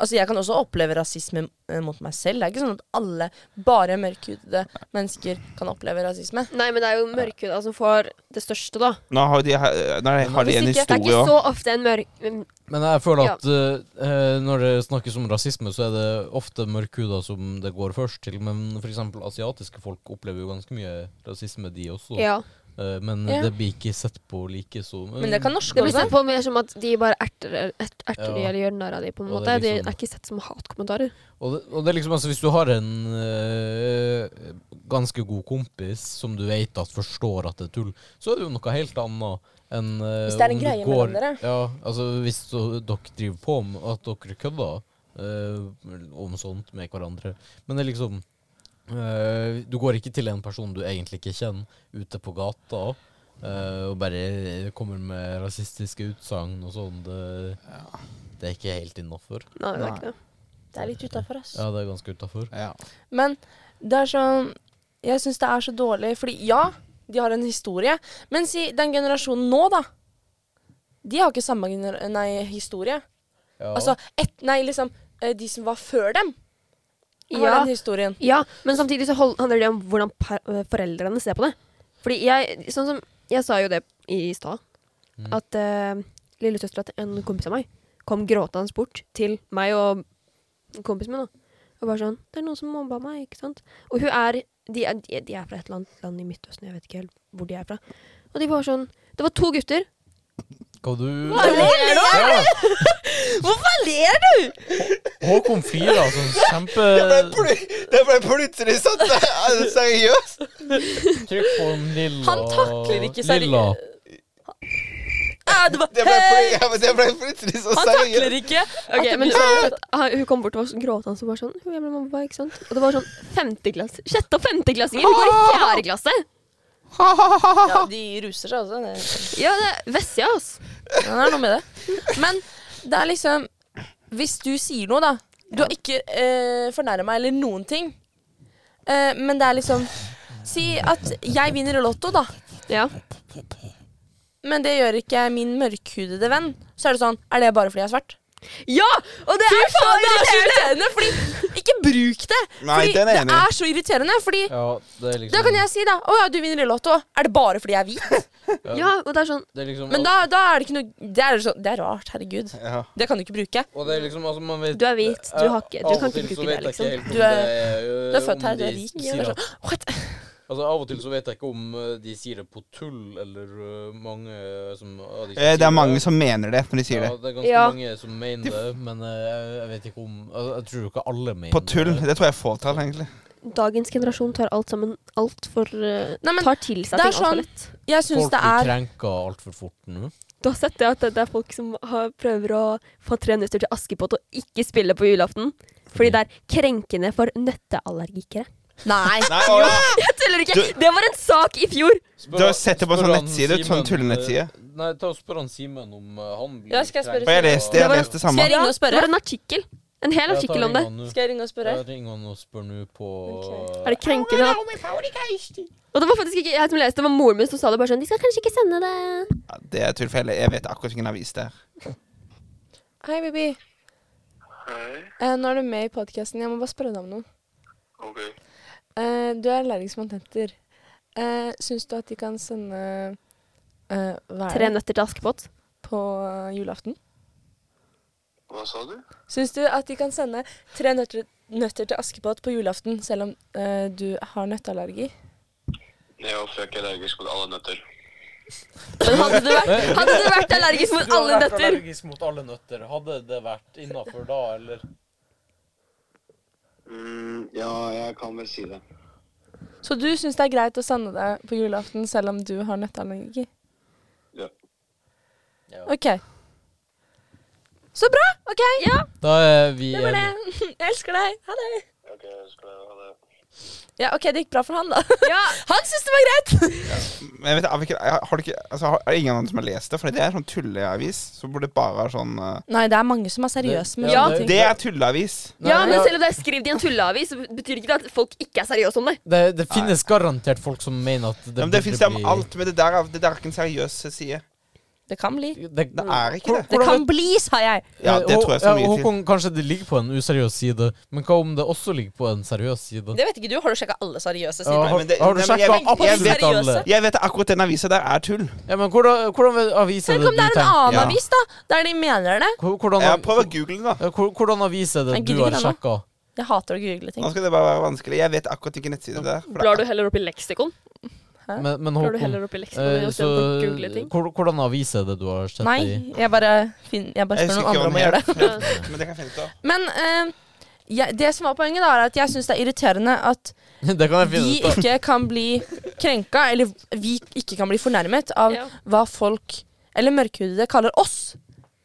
Speaker 1: Altså, Jeg kan også oppleve rasisme eh, mot meg selv. Det er ikke sånn at alle bare mørkhudede mennesker kan oppleve rasisme.
Speaker 4: Nei, men det er jo mørkhuda som får det største, da.
Speaker 3: Nå har de, nå har de en
Speaker 1: Hvis ikke-
Speaker 4: Det er
Speaker 3: historie
Speaker 4: ikke
Speaker 3: òg.
Speaker 4: så ofte en mørk... mm, men-
Speaker 2: Men jeg føler
Speaker 4: Ja.
Speaker 2: at eh, eh, når det snakkes om rasisme, så er det ofte mørkhuda som det går først til. Men f.eks. asiatiske folk opplever jo ganske mye rasisme, de også.
Speaker 4: Ja.
Speaker 2: Eh, men
Speaker 1: Ja.
Speaker 2: det blir ikke sett på like som
Speaker 1: Men det kan norske
Speaker 4: Det blir
Speaker 1: også.
Speaker 4: sett på mer som at de bare erter, erter, erter de
Speaker 2: Ja.
Speaker 4: eller gjør narr av de, på en
Speaker 2: Og det
Speaker 4: måte.
Speaker 2: er
Speaker 4: De
Speaker 2: liksom-
Speaker 4: er ikke sett som hatkommentarer.
Speaker 2: Og det, og det er liksom, altså, hvis du har en eh, ganske god kompis som du vet at forstår at det er tull, så er det jo noe helt annet enn eh,
Speaker 1: Hvis det er en
Speaker 2: om du
Speaker 1: greie
Speaker 2: går-
Speaker 1: mellom dere.
Speaker 2: Ja, altså hvis så, dere driver på med at dere kødder eh, om sånt med hverandre. Men det er liksom eh, Du går ikke til en person du egentlig ikke kjenner, ute på gata. eh, og bare kommer med rasistiske utsagn og sånn. Det, det er ikke helt innafor.
Speaker 4: Nei, det er ikke det.
Speaker 1: Det er litt utafor, ass.
Speaker 2: Ja, det er ganske utafor.
Speaker 3: Ja.
Speaker 1: Men det er sånn Jeg syns det er så dårlig, fordi ja, de har en historie. Men si den generasjonen nå, da. De har ikke samme gener nei, historie.
Speaker 2: Ja.
Speaker 1: Altså et, Nei, liksom eh, de som var før dem, har
Speaker 4: Ja.
Speaker 1: den historien.
Speaker 4: ja, men samtidig så hold- handler det om hvordan pa- øh, foreldrene ser på det. Fordi jeg Sånn som Jeg sa jo det i stad,
Speaker 2: Mm.
Speaker 4: at uh, lillesøstera til en kompis av meg kom gråtende bort til meg og kompisen min, da. Og bare sånn 'Det er noen som mobba meg', ikke sant? Og hun er De er, de de er fra et eller annet land i Midtøsten, jeg vet ikke helt hvor de er fra. Og de var sånn Det var to gutter
Speaker 2: Hva du
Speaker 1: ler du
Speaker 2: Ja,
Speaker 1: Hvorfor ler du?!
Speaker 2: Håkon Fira, altså. Kjempe
Speaker 3: Det ble plutselig sånn! Seriøst!
Speaker 2: Trykk på den lilla
Speaker 1: Han takler ikke seri-
Speaker 2: Lilla.
Speaker 1: Ah, det var,
Speaker 3: Det ble,
Speaker 1: hei!
Speaker 3: plutselig så
Speaker 1: Han
Speaker 3: seriøst!
Speaker 1: takler ikke! at
Speaker 4: Ok,
Speaker 1: det
Speaker 4: men
Speaker 1: blir sånn.
Speaker 4: uansett, ha- Hun kom bort og var sånn gråtende og bare sånn «Hun er med mamma, ikke sant? Og det var sånn femteklasse Sjette- og femteklassinger! Hun går i fjerde klasse!
Speaker 1: ja, de ruser seg også. Det.
Speaker 4: Ja, det er Vessia, ass.
Speaker 1: Ja, det er noe med det. Men det er liksom Hvis du sier noe, da. Du har ikke eh, fornærma eller noen ting. Eh, men det er liksom Si at jeg vinner i Lotto, da.
Speaker 4: Ja.
Speaker 1: Men det gjør ikke min mørkhudede venn. Så er det sånn Er det bare fordi jeg er svart?
Speaker 4: Ja! Og det
Speaker 1: Fy
Speaker 4: er så
Speaker 1: faen, det er så
Speaker 4: irriterende!
Speaker 1: irriterende! Fordi, ikke bruk det!
Speaker 3: Nei,
Speaker 1: Fordi
Speaker 3: den er jeg
Speaker 1: det
Speaker 3: enig i.
Speaker 1: er så irriterende. Fordi
Speaker 2: Ja, det er liksom
Speaker 1: da kan jeg si, da. Å ja, du vinner i Lotto. Er det bare fordi jeg er hvit?
Speaker 4: Ja, og det er sånn
Speaker 2: Det er liksom,
Speaker 1: Men da, da er det ikke noe Det er, sånn, det er rart. Herregud.
Speaker 3: Ja.
Speaker 1: Det kan du ikke bruke.
Speaker 2: Og det er liksom, altså, man vet
Speaker 4: Du er hvit, du har ikke- du
Speaker 2: Av og
Speaker 4: kan ikke
Speaker 2: til så vet
Speaker 4: bruke det,
Speaker 2: jeg ikke
Speaker 4: liksom.
Speaker 2: helt om
Speaker 1: Du er-
Speaker 2: det er, øh,
Speaker 1: du er
Speaker 2: om
Speaker 1: født her, du
Speaker 2: de
Speaker 1: er rik.
Speaker 2: sier
Speaker 1: Ja,
Speaker 2: at-
Speaker 1: What?
Speaker 2: altså, Av og til så vet jeg ikke om eh, de sier det på tull, eller eh, mange eh, som av de som
Speaker 3: Eh, Det
Speaker 2: sier
Speaker 3: er mange som mener det når de sier
Speaker 2: ja,
Speaker 3: det.
Speaker 2: det er ganske
Speaker 4: Ja.
Speaker 2: mange som mener det, men eh, jeg, jeg vet ikke om altså, Jeg tror jo ikke alle mener
Speaker 3: På tull. Det tror jeg er fåtall, egentlig.
Speaker 4: Dagens generasjon tar alt sammen altfor uh,
Speaker 1: Nei, men
Speaker 4: Tar til seg
Speaker 1: det er
Speaker 4: ting altfor
Speaker 1: sånn-
Speaker 4: lett.
Speaker 1: Jeg syns
Speaker 2: Folk
Speaker 1: det
Speaker 2: blir
Speaker 1: er
Speaker 2: krenka altfor fort nå.
Speaker 4: Du har sett det at det er folk som har, prøver å få tre nøtter til Askepott og ikke spille på julaften? Fordi det er krenkende for nøtteallergikere.
Speaker 1: Nei.
Speaker 3: Nei, å, ja.
Speaker 4: Jeg tuller ikke!
Speaker 3: Du-
Speaker 4: Det var en sak i fjor!
Speaker 2: Spør-
Speaker 3: Du har sett det på en
Speaker 2: spør
Speaker 3: sånn
Speaker 2: han
Speaker 3: nettside,
Speaker 2: Simen,
Speaker 3: sånn tullenettside.
Speaker 2: eh, Nei, ta og spør han Simen om eh, han blir
Speaker 1: Ja, skal jeg spørre
Speaker 2: krenka.
Speaker 3: Og jeg leste, jeg
Speaker 4: var-
Speaker 3: leste det samme.
Speaker 1: Skal jeg ringe og
Speaker 4: Det
Speaker 1: spørre?
Speaker 4: var en artikkel. En hel
Speaker 2: Ja, ta
Speaker 4: artikkel om
Speaker 2: ring
Speaker 4: det.
Speaker 2: han nå.
Speaker 1: Skal jeg ringe og spørre?
Speaker 2: Ja, ring han og spør nå på
Speaker 4: Er det krenkende? at- Og det var faktisk ikke jeg som leste, det var moren min som sa det bare sånn De skal kanskje ikke sende det.
Speaker 3: Ja, det er tilfelle. Jeg vet akkurat hvilken avis det er.
Speaker 1: Hei, baby. Eh, nå er du med i podkasten. Jeg må bare spørre deg om noe.
Speaker 6: Ok.
Speaker 1: Eh, du er allergisk mot tenter. Uh, syns du at de kan sende eh, hva er
Speaker 4: Tre
Speaker 1: det?
Speaker 4: nøtter til Askepott.
Speaker 1: på eh, julaften?
Speaker 6: Hva sa du?
Speaker 1: Syns du at de kan sende tre nøtter, nøtter til Askepott på julaften, selv om eh, du har nøtteallergi?
Speaker 6: Jeg er fuck allergisk mot alle nøtter.
Speaker 4: Men hadde du vært, hadde du vært allergisk mot alle nøtter
Speaker 2: allergisk mot alle nøtter, hadde det vært innafor da, eller?
Speaker 6: Mm, ja, jeg kan vel si det.
Speaker 1: Så du syns det er greit å sende det på julaften selv om du har nøtteallergi?
Speaker 6: Ja.
Speaker 1: OK. Så bra! OK. Ja,
Speaker 2: Da er vi
Speaker 1: det var det. Jeg elsker deg. Ha det.
Speaker 6: Ok, jeg skal ha det.
Speaker 1: Ja, OK, det gikk bra for han, da. Han syns det var greit!
Speaker 3: Men jeg vet, har, vi ikke, har, du ikke, altså, har er det ingen andre som har lest det? For det er sånn tulleavis. Så burde det bare være sånn eh,
Speaker 1: Nei, det er mange som er seriøse med
Speaker 2: Ja,
Speaker 1: sånne ting.
Speaker 3: Det er tulleavis.
Speaker 4: Ja, men selv om det er skrevet i en tulleavis, så betyr ikke det at folk ikke er seriøse om det.
Speaker 2: Det, det finnes garantert folk som mener at det
Speaker 3: Ja, men det
Speaker 2: burde
Speaker 3: fins det om
Speaker 2: bli-
Speaker 3: alt, men det der, er- det der er ikke en seriøs side.
Speaker 1: Det kan bli.
Speaker 2: Det,
Speaker 3: Det er ikke det.
Speaker 1: Det kan bli, sa jeg.
Speaker 3: Ja, det tror jeg så
Speaker 2: Ja,
Speaker 3: mye til.
Speaker 2: Håkon, kanskje det ligger på en useriøs side, men hva om det også ligger på en seriøs side?
Speaker 1: Det vet ikke du. Har du sjekka alle
Speaker 2: Ja,
Speaker 1: seriøse sider?
Speaker 2: har,
Speaker 3: men det-
Speaker 2: har du
Speaker 3: nei, men jeg
Speaker 2: sjekka
Speaker 3: vet- jeg
Speaker 2: absolutt
Speaker 3: vet-
Speaker 2: alle?
Speaker 1: seriøse.
Speaker 3: Jeg vet at akkurat den avisa der er tull.
Speaker 2: Ja, men hvordan, hvordan avis er det
Speaker 1: Tenk om
Speaker 2: du
Speaker 1: det er en
Speaker 2: tenker?
Speaker 1: annen
Speaker 3: Ja.
Speaker 1: avis, da, der de mener det.
Speaker 2: Hvor- Hvordan,
Speaker 3: Jeg prøver å google det, da.
Speaker 2: ja, hvor- hvordan avis er det
Speaker 1: Jeg
Speaker 2: du
Speaker 1: gidder
Speaker 2: har
Speaker 1: ikke det nå.
Speaker 2: sjekka?
Speaker 1: Jeg hater å google ting.
Speaker 3: Nå skal det bare være vanskelig. Jeg vet akkurat hvilken nettside det er. for det er
Speaker 4: Blar du heller opp i leksikon?
Speaker 1: Hæ?
Speaker 2: Men, men
Speaker 4: Blar du
Speaker 2: Håkon,
Speaker 4: heller opp i leksikon
Speaker 2: eh, så
Speaker 4: istedenfor å google ting?
Speaker 2: hvor- hvordan avis er det du har sett
Speaker 1: Nei,
Speaker 2: i?
Speaker 1: jeg bare, fin, jeg bare
Speaker 3: Jeg
Speaker 1: spør
Speaker 3: husker
Speaker 1: noen
Speaker 3: ikke hva
Speaker 1: andre om å
Speaker 3: den
Speaker 1: gjøre det.
Speaker 3: het, Men det kan jeg finne ut av.
Speaker 1: Men eh, jeg, det som var poenget, da, er at jeg syns det er irriterende at
Speaker 2: Det kan jeg
Speaker 1: vi
Speaker 2: finne ut av.
Speaker 1: ikke kan bli krenka, eller vi ikke kan bli fornærmet av
Speaker 4: Ja.
Speaker 1: hva folk, eller mørkhudede, kaller oss.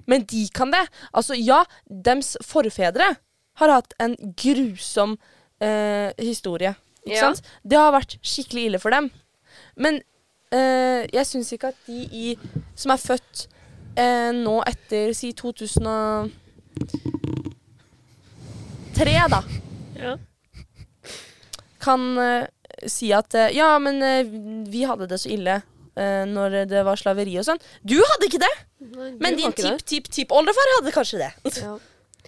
Speaker 1: Men de kan det. Altså, ja, dems forfedre har hatt en grusom eh, historie. Ikke
Speaker 4: Ja.
Speaker 1: sant? Det har vært skikkelig ille for dem. Men eh, jeg syns ikke at de i, som er født eh, nå etter si 2003, da
Speaker 4: Ja.
Speaker 1: kan eh, si at eh, ja, men eh, vi hadde det så ille eh, når det var slaveri og sånn. Du hadde ikke det,
Speaker 4: Nei, du
Speaker 1: men
Speaker 4: har
Speaker 1: din
Speaker 4: ikke det.
Speaker 1: tipp-tipp-tipp-oldefar hadde kanskje det.
Speaker 4: Ja.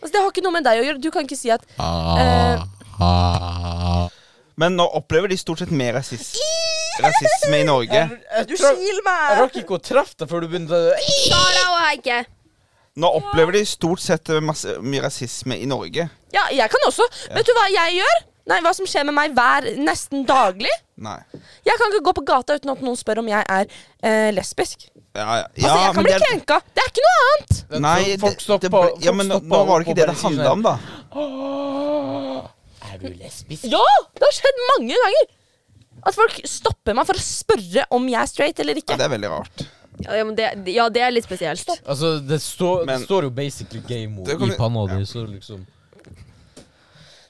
Speaker 1: Altså, det har ikke noe med deg å gjøre. Du kan ikke si at
Speaker 2: Ah.
Speaker 1: eh,
Speaker 3: Men nå opplever de stort sett mer rasisme, rasisme i Norge.
Speaker 1: Du skil
Speaker 2: Jeg
Speaker 1: meg!
Speaker 2: rakk ikke å treffe deg før du begynte
Speaker 4: Sara og Heike.
Speaker 3: Nå opplever de stort sett masse, mye rasisme i Norge.
Speaker 1: Ja, jeg kan også. Vet du hva jeg gjør? Nei, hva som skjer med meg hver nesten daglig?
Speaker 3: Nei.
Speaker 1: Jeg kan ikke gå på gata uten at noen spør om jeg er eh, lesbisk.
Speaker 3: Ja, ja.
Speaker 1: Altså,
Speaker 3: Ja,
Speaker 1: jeg kan
Speaker 3: men
Speaker 1: bli
Speaker 3: det-
Speaker 1: krenka. Det er ikke noe annet!
Speaker 3: Nei, det,
Speaker 2: Folk stoppa-
Speaker 3: det, ble- ja,
Speaker 2: folk
Speaker 3: men nå,
Speaker 2: stoppa
Speaker 3: nå var det
Speaker 2: opp
Speaker 3: ikke
Speaker 2: og
Speaker 3: det
Speaker 2: bare
Speaker 3: det
Speaker 2: sier
Speaker 3: handla
Speaker 2: sånn,
Speaker 3: om, da.
Speaker 2: Er du lesbisk?
Speaker 1: Ja! Det har skjedd mange ganger. At folk stopper meg for å spørre om jeg er straight eller
Speaker 3: Ja,
Speaker 1: ikke.
Speaker 3: det er veldig rart.
Speaker 4: Ja, ja, men det, ja, det er litt spesielt.
Speaker 2: Altså, det, står-
Speaker 3: Men-
Speaker 2: det står jo basically game
Speaker 3: Det kan
Speaker 2: i
Speaker 3: vi-
Speaker 2: panna di, så liksom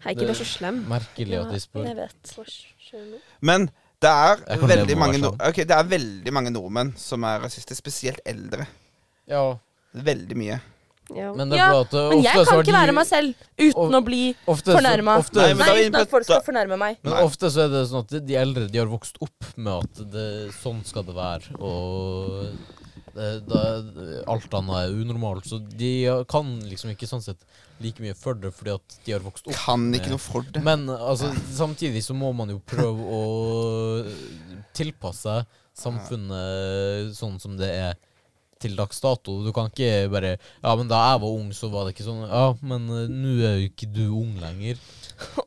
Speaker 4: Heike, du er så slem.
Speaker 2: Merkelig at de spør.
Speaker 1: Jeg vet.
Speaker 3: Men det er,
Speaker 2: Jeg kan leve
Speaker 3: veldig
Speaker 2: med
Speaker 3: mange,
Speaker 2: meg
Speaker 3: nor-
Speaker 2: sånn.
Speaker 3: ok, det er veldig mange nordmenn som er rasister, spesielt eldre.
Speaker 2: Ja,
Speaker 3: Veldig mye.
Speaker 4: Ja.
Speaker 2: men det er
Speaker 1: Ja,
Speaker 2: bra at det,
Speaker 1: Men jeg
Speaker 2: ofte så
Speaker 1: kan
Speaker 2: er
Speaker 1: ikke være meg
Speaker 2: de,
Speaker 1: selv uten
Speaker 2: og-
Speaker 1: å bli
Speaker 2: ofte,
Speaker 1: fornærma.
Speaker 2: Så, ofte,
Speaker 1: Nei,
Speaker 3: Nei, men da er vi inne
Speaker 1: uten
Speaker 3: på-
Speaker 1: at folk
Speaker 3: da-
Speaker 1: skal fornærme meg.
Speaker 2: men
Speaker 3: Nei.
Speaker 2: ofte så er det sånn at de eldre de har vokst opp med at det, sånn skal det være, og eh, da, alt annet er unormalt. Så de kan liksom ikke sånn sett like mye for det, fordi at de har vokst opp.
Speaker 3: Kan ikke noe for det.
Speaker 2: Men altså, samtidig så må man jo prøve å tilpasse samfunnet sånn som det er til dags dato. Du kan ikke bare Ja, men da jeg var ung, så var det ikke sånn. Ja, men eh, nå er jo ikke du ung lenger.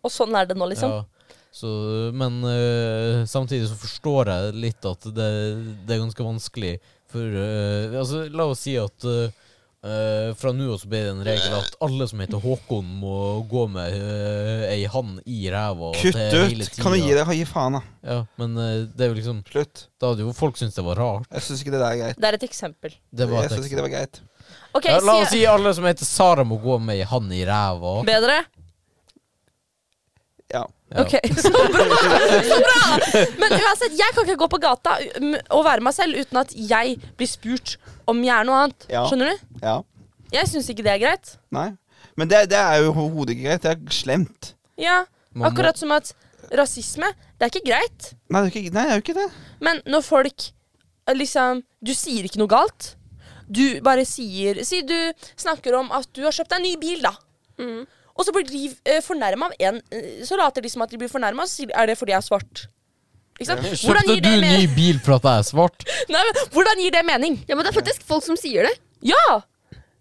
Speaker 1: Og sånn er det nå, liksom.
Speaker 2: Ja. Så, men eh, samtidig så forstår jeg litt at det, det er ganske vanskelig for eh, Altså, la oss si at eh, eh, fra nå av så blir det en regel at alle som heter Håkon, må gå med eh, ei hann i ræva. og
Speaker 3: Kutt
Speaker 2: det er hele
Speaker 3: ut! Kan du
Speaker 2: tida.
Speaker 3: gi deg? Gi faen, da.
Speaker 2: Ja, men eh, det er jo liksom
Speaker 3: Slutt.
Speaker 2: Da hadde jo folk syntes det var rart.
Speaker 3: Jeg syns ikke det der er greit.
Speaker 1: Det er et eksempel.
Speaker 2: Det var
Speaker 3: Jeg
Speaker 2: et
Speaker 3: synes ikke det var greit.
Speaker 1: OK,
Speaker 2: ja, la oss
Speaker 1: si
Speaker 2: si alle som heter Sara, må gå med ei hann i ræva.
Speaker 1: bedre.
Speaker 3: Ja.
Speaker 2: Ja.
Speaker 1: Ok, så bra! Så bra! Men uansett, jeg kan ikke gå på gata um, og være meg selv uten at jeg blir spurt om jeg er noe annet.
Speaker 3: Ja.
Speaker 1: Skjønner du?
Speaker 3: ja.
Speaker 1: Jeg syns ikke det er greit.
Speaker 3: Nei. Men det, det er jo overhodet ikke greit. Det er slemt.
Speaker 1: Ja,
Speaker 2: Man må-
Speaker 1: Akkurat som at rasisme, det er ikke greit.
Speaker 3: Nei, det er, ikke, nei, det er jo ikke det.
Speaker 1: Men når folk eh, liksom Du sier ikke noe galt. Du bare sier Si du snakker om at du har kjøpt deg en ny bil, da.
Speaker 4: Mm.
Speaker 1: Og så blir de eh, fornærma av en eh, Så later de som at de blir fornærma, og så sier de er det fordi jeg er svart. Ikke sant? Hvordan
Speaker 2: Kjøpte
Speaker 1: gir
Speaker 2: du
Speaker 1: det,
Speaker 2: ny
Speaker 1: me
Speaker 2: bil for at jeg er svart?
Speaker 1: Nei, men, hvordan gir det mening?
Speaker 4: Ja, men det er faktisk folk som sier det.
Speaker 1: Ja!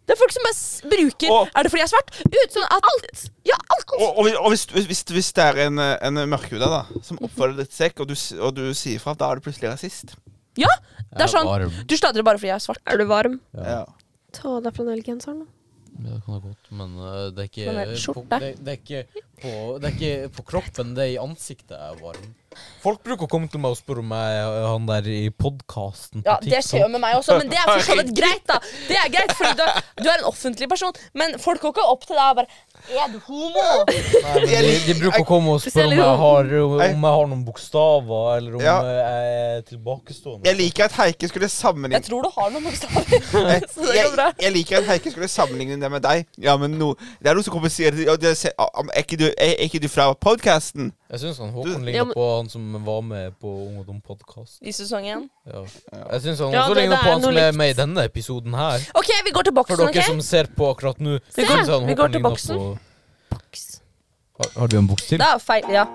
Speaker 1: Det er folk som bare s- bruker
Speaker 3: Og-
Speaker 1: Er det fordi jeg er svart? Uten at alt! Ja, alt!
Speaker 3: Og, og, hvis- og hvis, hvis, hvis- hvis det er en, eh, en mørkhuda da, som oppfører deg litt sekk, og, du s- og du sier fra, da er du plutselig rasist.
Speaker 1: Ja, det er
Speaker 2: Jeg
Speaker 1: sånn.
Speaker 2: varm.
Speaker 1: Du sladrer bare fordi jeg er svart.
Speaker 4: Er du varm?
Speaker 2: Ja.
Speaker 3: Ja.
Speaker 4: Ta av deg flanellgenseren, da.
Speaker 2: Ja, det kan ha gått, men eh, det er ikke
Speaker 1: Men det er
Speaker 2: på,
Speaker 1: skjorte.
Speaker 2: det, det er ikke på, det er ikke på kroppen, det er i ansiktet jeg er varm. Folk bruker å komme til meg og spørre om jeg er han der i podkasten
Speaker 1: Ja, Det skjer jo med meg også, men det er for så vidt greit. da Det er greit, fordi du, du er en offentlig person, men folk går ikke opp til deg og bare Er du homo?
Speaker 2: De, de bruker å komme og spørre om
Speaker 4: sånn.
Speaker 2: jeg har, om jeg har noen bokstaver, eller om
Speaker 3: Ja.
Speaker 2: jeg er tilbakestående.
Speaker 3: Jeg liker at Heike skulle sammenligne
Speaker 1: Jeg tror du har noen bokstaver.
Speaker 3: jeg,
Speaker 1: Så det går bra.
Speaker 3: jeg liker at Heike skulle sammenligne det med deg. Ja, men no, Det er noe som kommer og sier ja, det ser- am- er, ikke du, er, er ikke du fra podkasten?
Speaker 2: Jeg syns han Håkon
Speaker 4: Ja,
Speaker 2: ligner
Speaker 4: men-
Speaker 2: på han som var med på Ung og dum podkast.
Speaker 1: I sesong én.
Speaker 2: Ja. Jeg syns han
Speaker 4: Ja,
Speaker 2: også
Speaker 4: det- det
Speaker 2: ligner
Speaker 4: er
Speaker 2: på han
Speaker 4: noe
Speaker 2: som er
Speaker 4: likt.
Speaker 2: med i denne episoden her.
Speaker 1: OK, vi går til
Speaker 2: For
Speaker 1: boksen.
Speaker 2: dere
Speaker 1: ok?
Speaker 2: som ser på akkurat nå.
Speaker 1: Se,
Speaker 2: synes han
Speaker 1: vi
Speaker 2: Håkon
Speaker 1: går til
Speaker 2: ligner
Speaker 1: boksen.
Speaker 2: på- Har, har du en boks til?
Speaker 1: Det er feil, ja.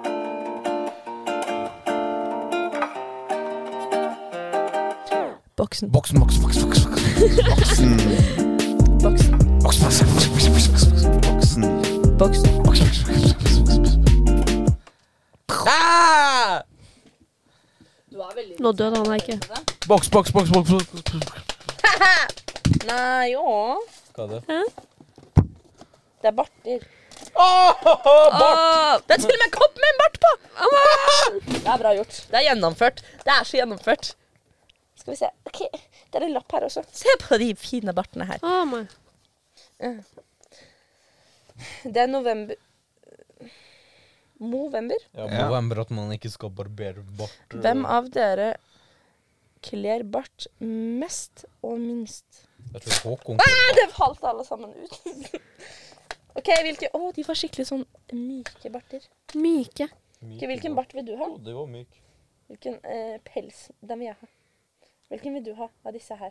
Speaker 1: Boksen.
Speaker 2: Boksen, boks, boks, boks, boks.
Speaker 1: Boksen.
Speaker 3: Boksen.
Speaker 1: Boksen.
Speaker 2: Ah!
Speaker 4: Nå døde han deg ikke.
Speaker 2: Boks, boks, boks, boks, boks, boks, boks.
Speaker 1: Nei, ja.
Speaker 2: Hva er det?
Speaker 1: Det er barter.
Speaker 2: Bart!
Speaker 1: Åh, det er til og med en kopp med en bart på! Det er bra gjort. Det er gjennomført. Det er så gjennomført. Skal vi se. Ok, Det er en lapp her også. Se på de fine bartene her.
Speaker 4: Å, my.
Speaker 1: Det er november Movember?
Speaker 2: Ja,
Speaker 3: Ja.
Speaker 2: November at man ikke skal barbere bart.
Speaker 1: Mm. Hvem av dere kler bart mest og minst?
Speaker 2: Jeg tror Håkon
Speaker 1: Ah, det falt alle sammen ut. OK, hvilke Å, de var skikkelig sånn myke barter.
Speaker 4: Myke.
Speaker 1: Ok, hvilken bart vil du ha?
Speaker 2: Det var myk.
Speaker 1: Hvilken eh, pels? Den vil jeg ha. Hvilken vil du ha av disse her?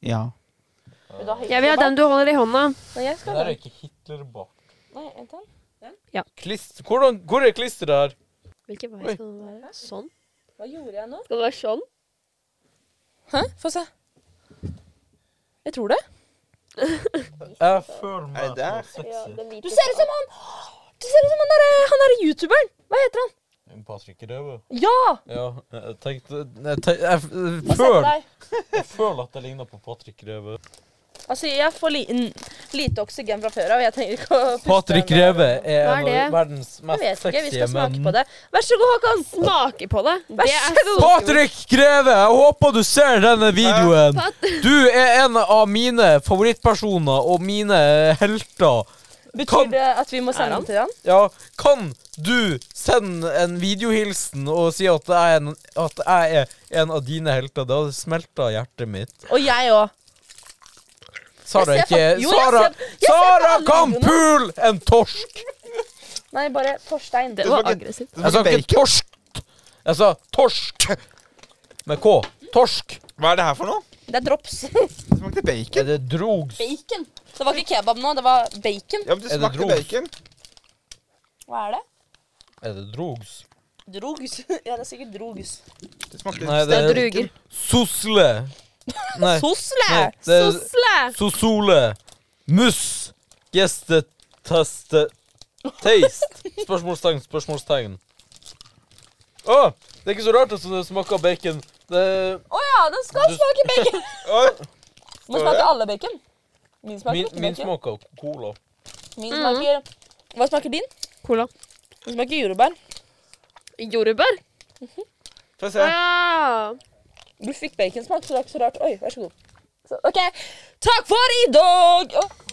Speaker 3: Ja.
Speaker 1: Vil du ha
Speaker 4: Jeg vil ha den du holder i hånda.
Speaker 1: Nei, jeg
Speaker 2: Det
Speaker 1: skal ha
Speaker 2: der er
Speaker 1: den.
Speaker 2: ikke Hitler-bart.
Speaker 1: Nei, vent da.
Speaker 2: Klist. Hvordan, hvor er klisteret her?
Speaker 4: Hvilken vei skal den være? Sånn?
Speaker 1: Hva gjorde jeg nå?
Speaker 4: Skal det være sånn?
Speaker 1: Hæ? Få se. Jeg tror det.
Speaker 2: Jeg føler meg
Speaker 3: Er det der?
Speaker 2: så sexy.
Speaker 1: Du ser ut som han! Du ser ut som han derre han derre youtuberen! Hva heter han?
Speaker 2: Patrick Røve.
Speaker 1: Ja!
Speaker 2: Ja, jeg tenkte Jeg, tenk, jeg, f-
Speaker 1: Få se på
Speaker 2: føl,
Speaker 1: deg.
Speaker 2: jeg føler at jeg ligner på Patrick Røve.
Speaker 1: Altså, jeg får li n- lite oksygen fra før av. Jeg trenger ikke å puste
Speaker 2: Patrick
Speaker 1: den der.
Speaker 2: Røve er
Speaker 4: Hva er
Speaker 2: en
Speaker 4: det?
Speaker 2: av verdens
Speaker 1: Jeg vet
Speaker 2: mest
Speaker 1: ikke. Vi skal
Speaker 2: sexy
Speaker 1: smake
Speaker 2: menn.
Speaker 1: på det. Vær så god, Håkon.
Speaker 4: Smake på det.
Speaker 1: Vær
Speaker 4: Det
Speaker 1: så
Speaker 4: er
Speaker 1: god.
Speaker 2: Patrick Greve, jeg håper du ser denne videoen. Du er en av mine favorittpersoner og mine helter.
Speaker 1: Betyr
Speaker 2: Kan,
Speaker 1: det at vi må
Speaker 4: Er
Speaker 1: sende
Speaker 4: han?
Speaker 1: den til han?
Speaker 2: ja, kan du sende en videohilsen og si at jeg er en, at jeg er en av dine helter? Det hadde smelta hjertet mitt.
Speaker 1: Og jeg òg.
Speaker 2: Sara
Speaker 1: Jeg ser
Speaker 2: ikke
Speaker 1: fakt- jo, jeg
Speaker 2: Sara,
Speaker 1: ser- jeg ser på
Speaker 2: Sara
Speaker 1: alle
Speaker 2: kan
Speaker 1: videoene.
Speaker 2: pule en torsk!
Speaker 1: Nei, bare Torstein.
Speaker 4: Det var aggressivt.
Speaker 2: Jeg sa ikke torsk. Jeg sa torsk med K. Torsk.
Speaker 3: Hva er det her for noe?
Speaker 1: Det er drops.
Speaker 3: Det smakte bacon.
Speaker 2: Er det drogs?
Speaker 1: Bacon. Det var ikke kebab nå, det var bacon.
Speaker 3: Ja, men det
Speaker 2: Er det
Speaker 3: smakte
Speaker 2: drops?
Speaker 3: bacon.
Speaker 1: Hva er det?
Speaker 2: Er det drogs?
Speaker 1: Drogus. Ja, det er sikkert drogus.
Speaker 3: Det smakte
Speaker 2: Nei,
Speaker 4: Det
Speaker 2: det
Speaker 4: er
Speaker 2: er
Speaker 4: druger.
Speaker 2: sosle. Nei,
Speaker 1: Sosle!
Speaker 2: Nei, det er-
Speaker 4: Eh,
Speaker 2: sosole. Muss. Gjeste. Teste. Taste. Spørsmålstegn, spørsmålstegn. Å, det er ikke så rart at det smaker bacon. Det
Speaker 1: Å ja, den skal
Speaker 2: Du-
Speaker 1: smake bacon!
Speaker 2: Oi.
Speaker 1: Nå smaker alle bacon. Min smaker
Speaker 2: Min,
Speaker 1: ikke
Speaker 2: min
Speaker 1: bacon.
Speaker 2: smaker cola.
Speaker 1: Min smaker Hva smaker din?
Speaker 4: Cola.
Speaker 1: Mm. Den smaker jordbær.
Speaker 4: Jordbær?
Speaker 3: Mhm. Få se.
Speaker 4: Ja.
Speaker 1: Du fikk baconsmak, så det er ikke så rart. Oi, vær så god. Så, OK. Takk for i dag! Å,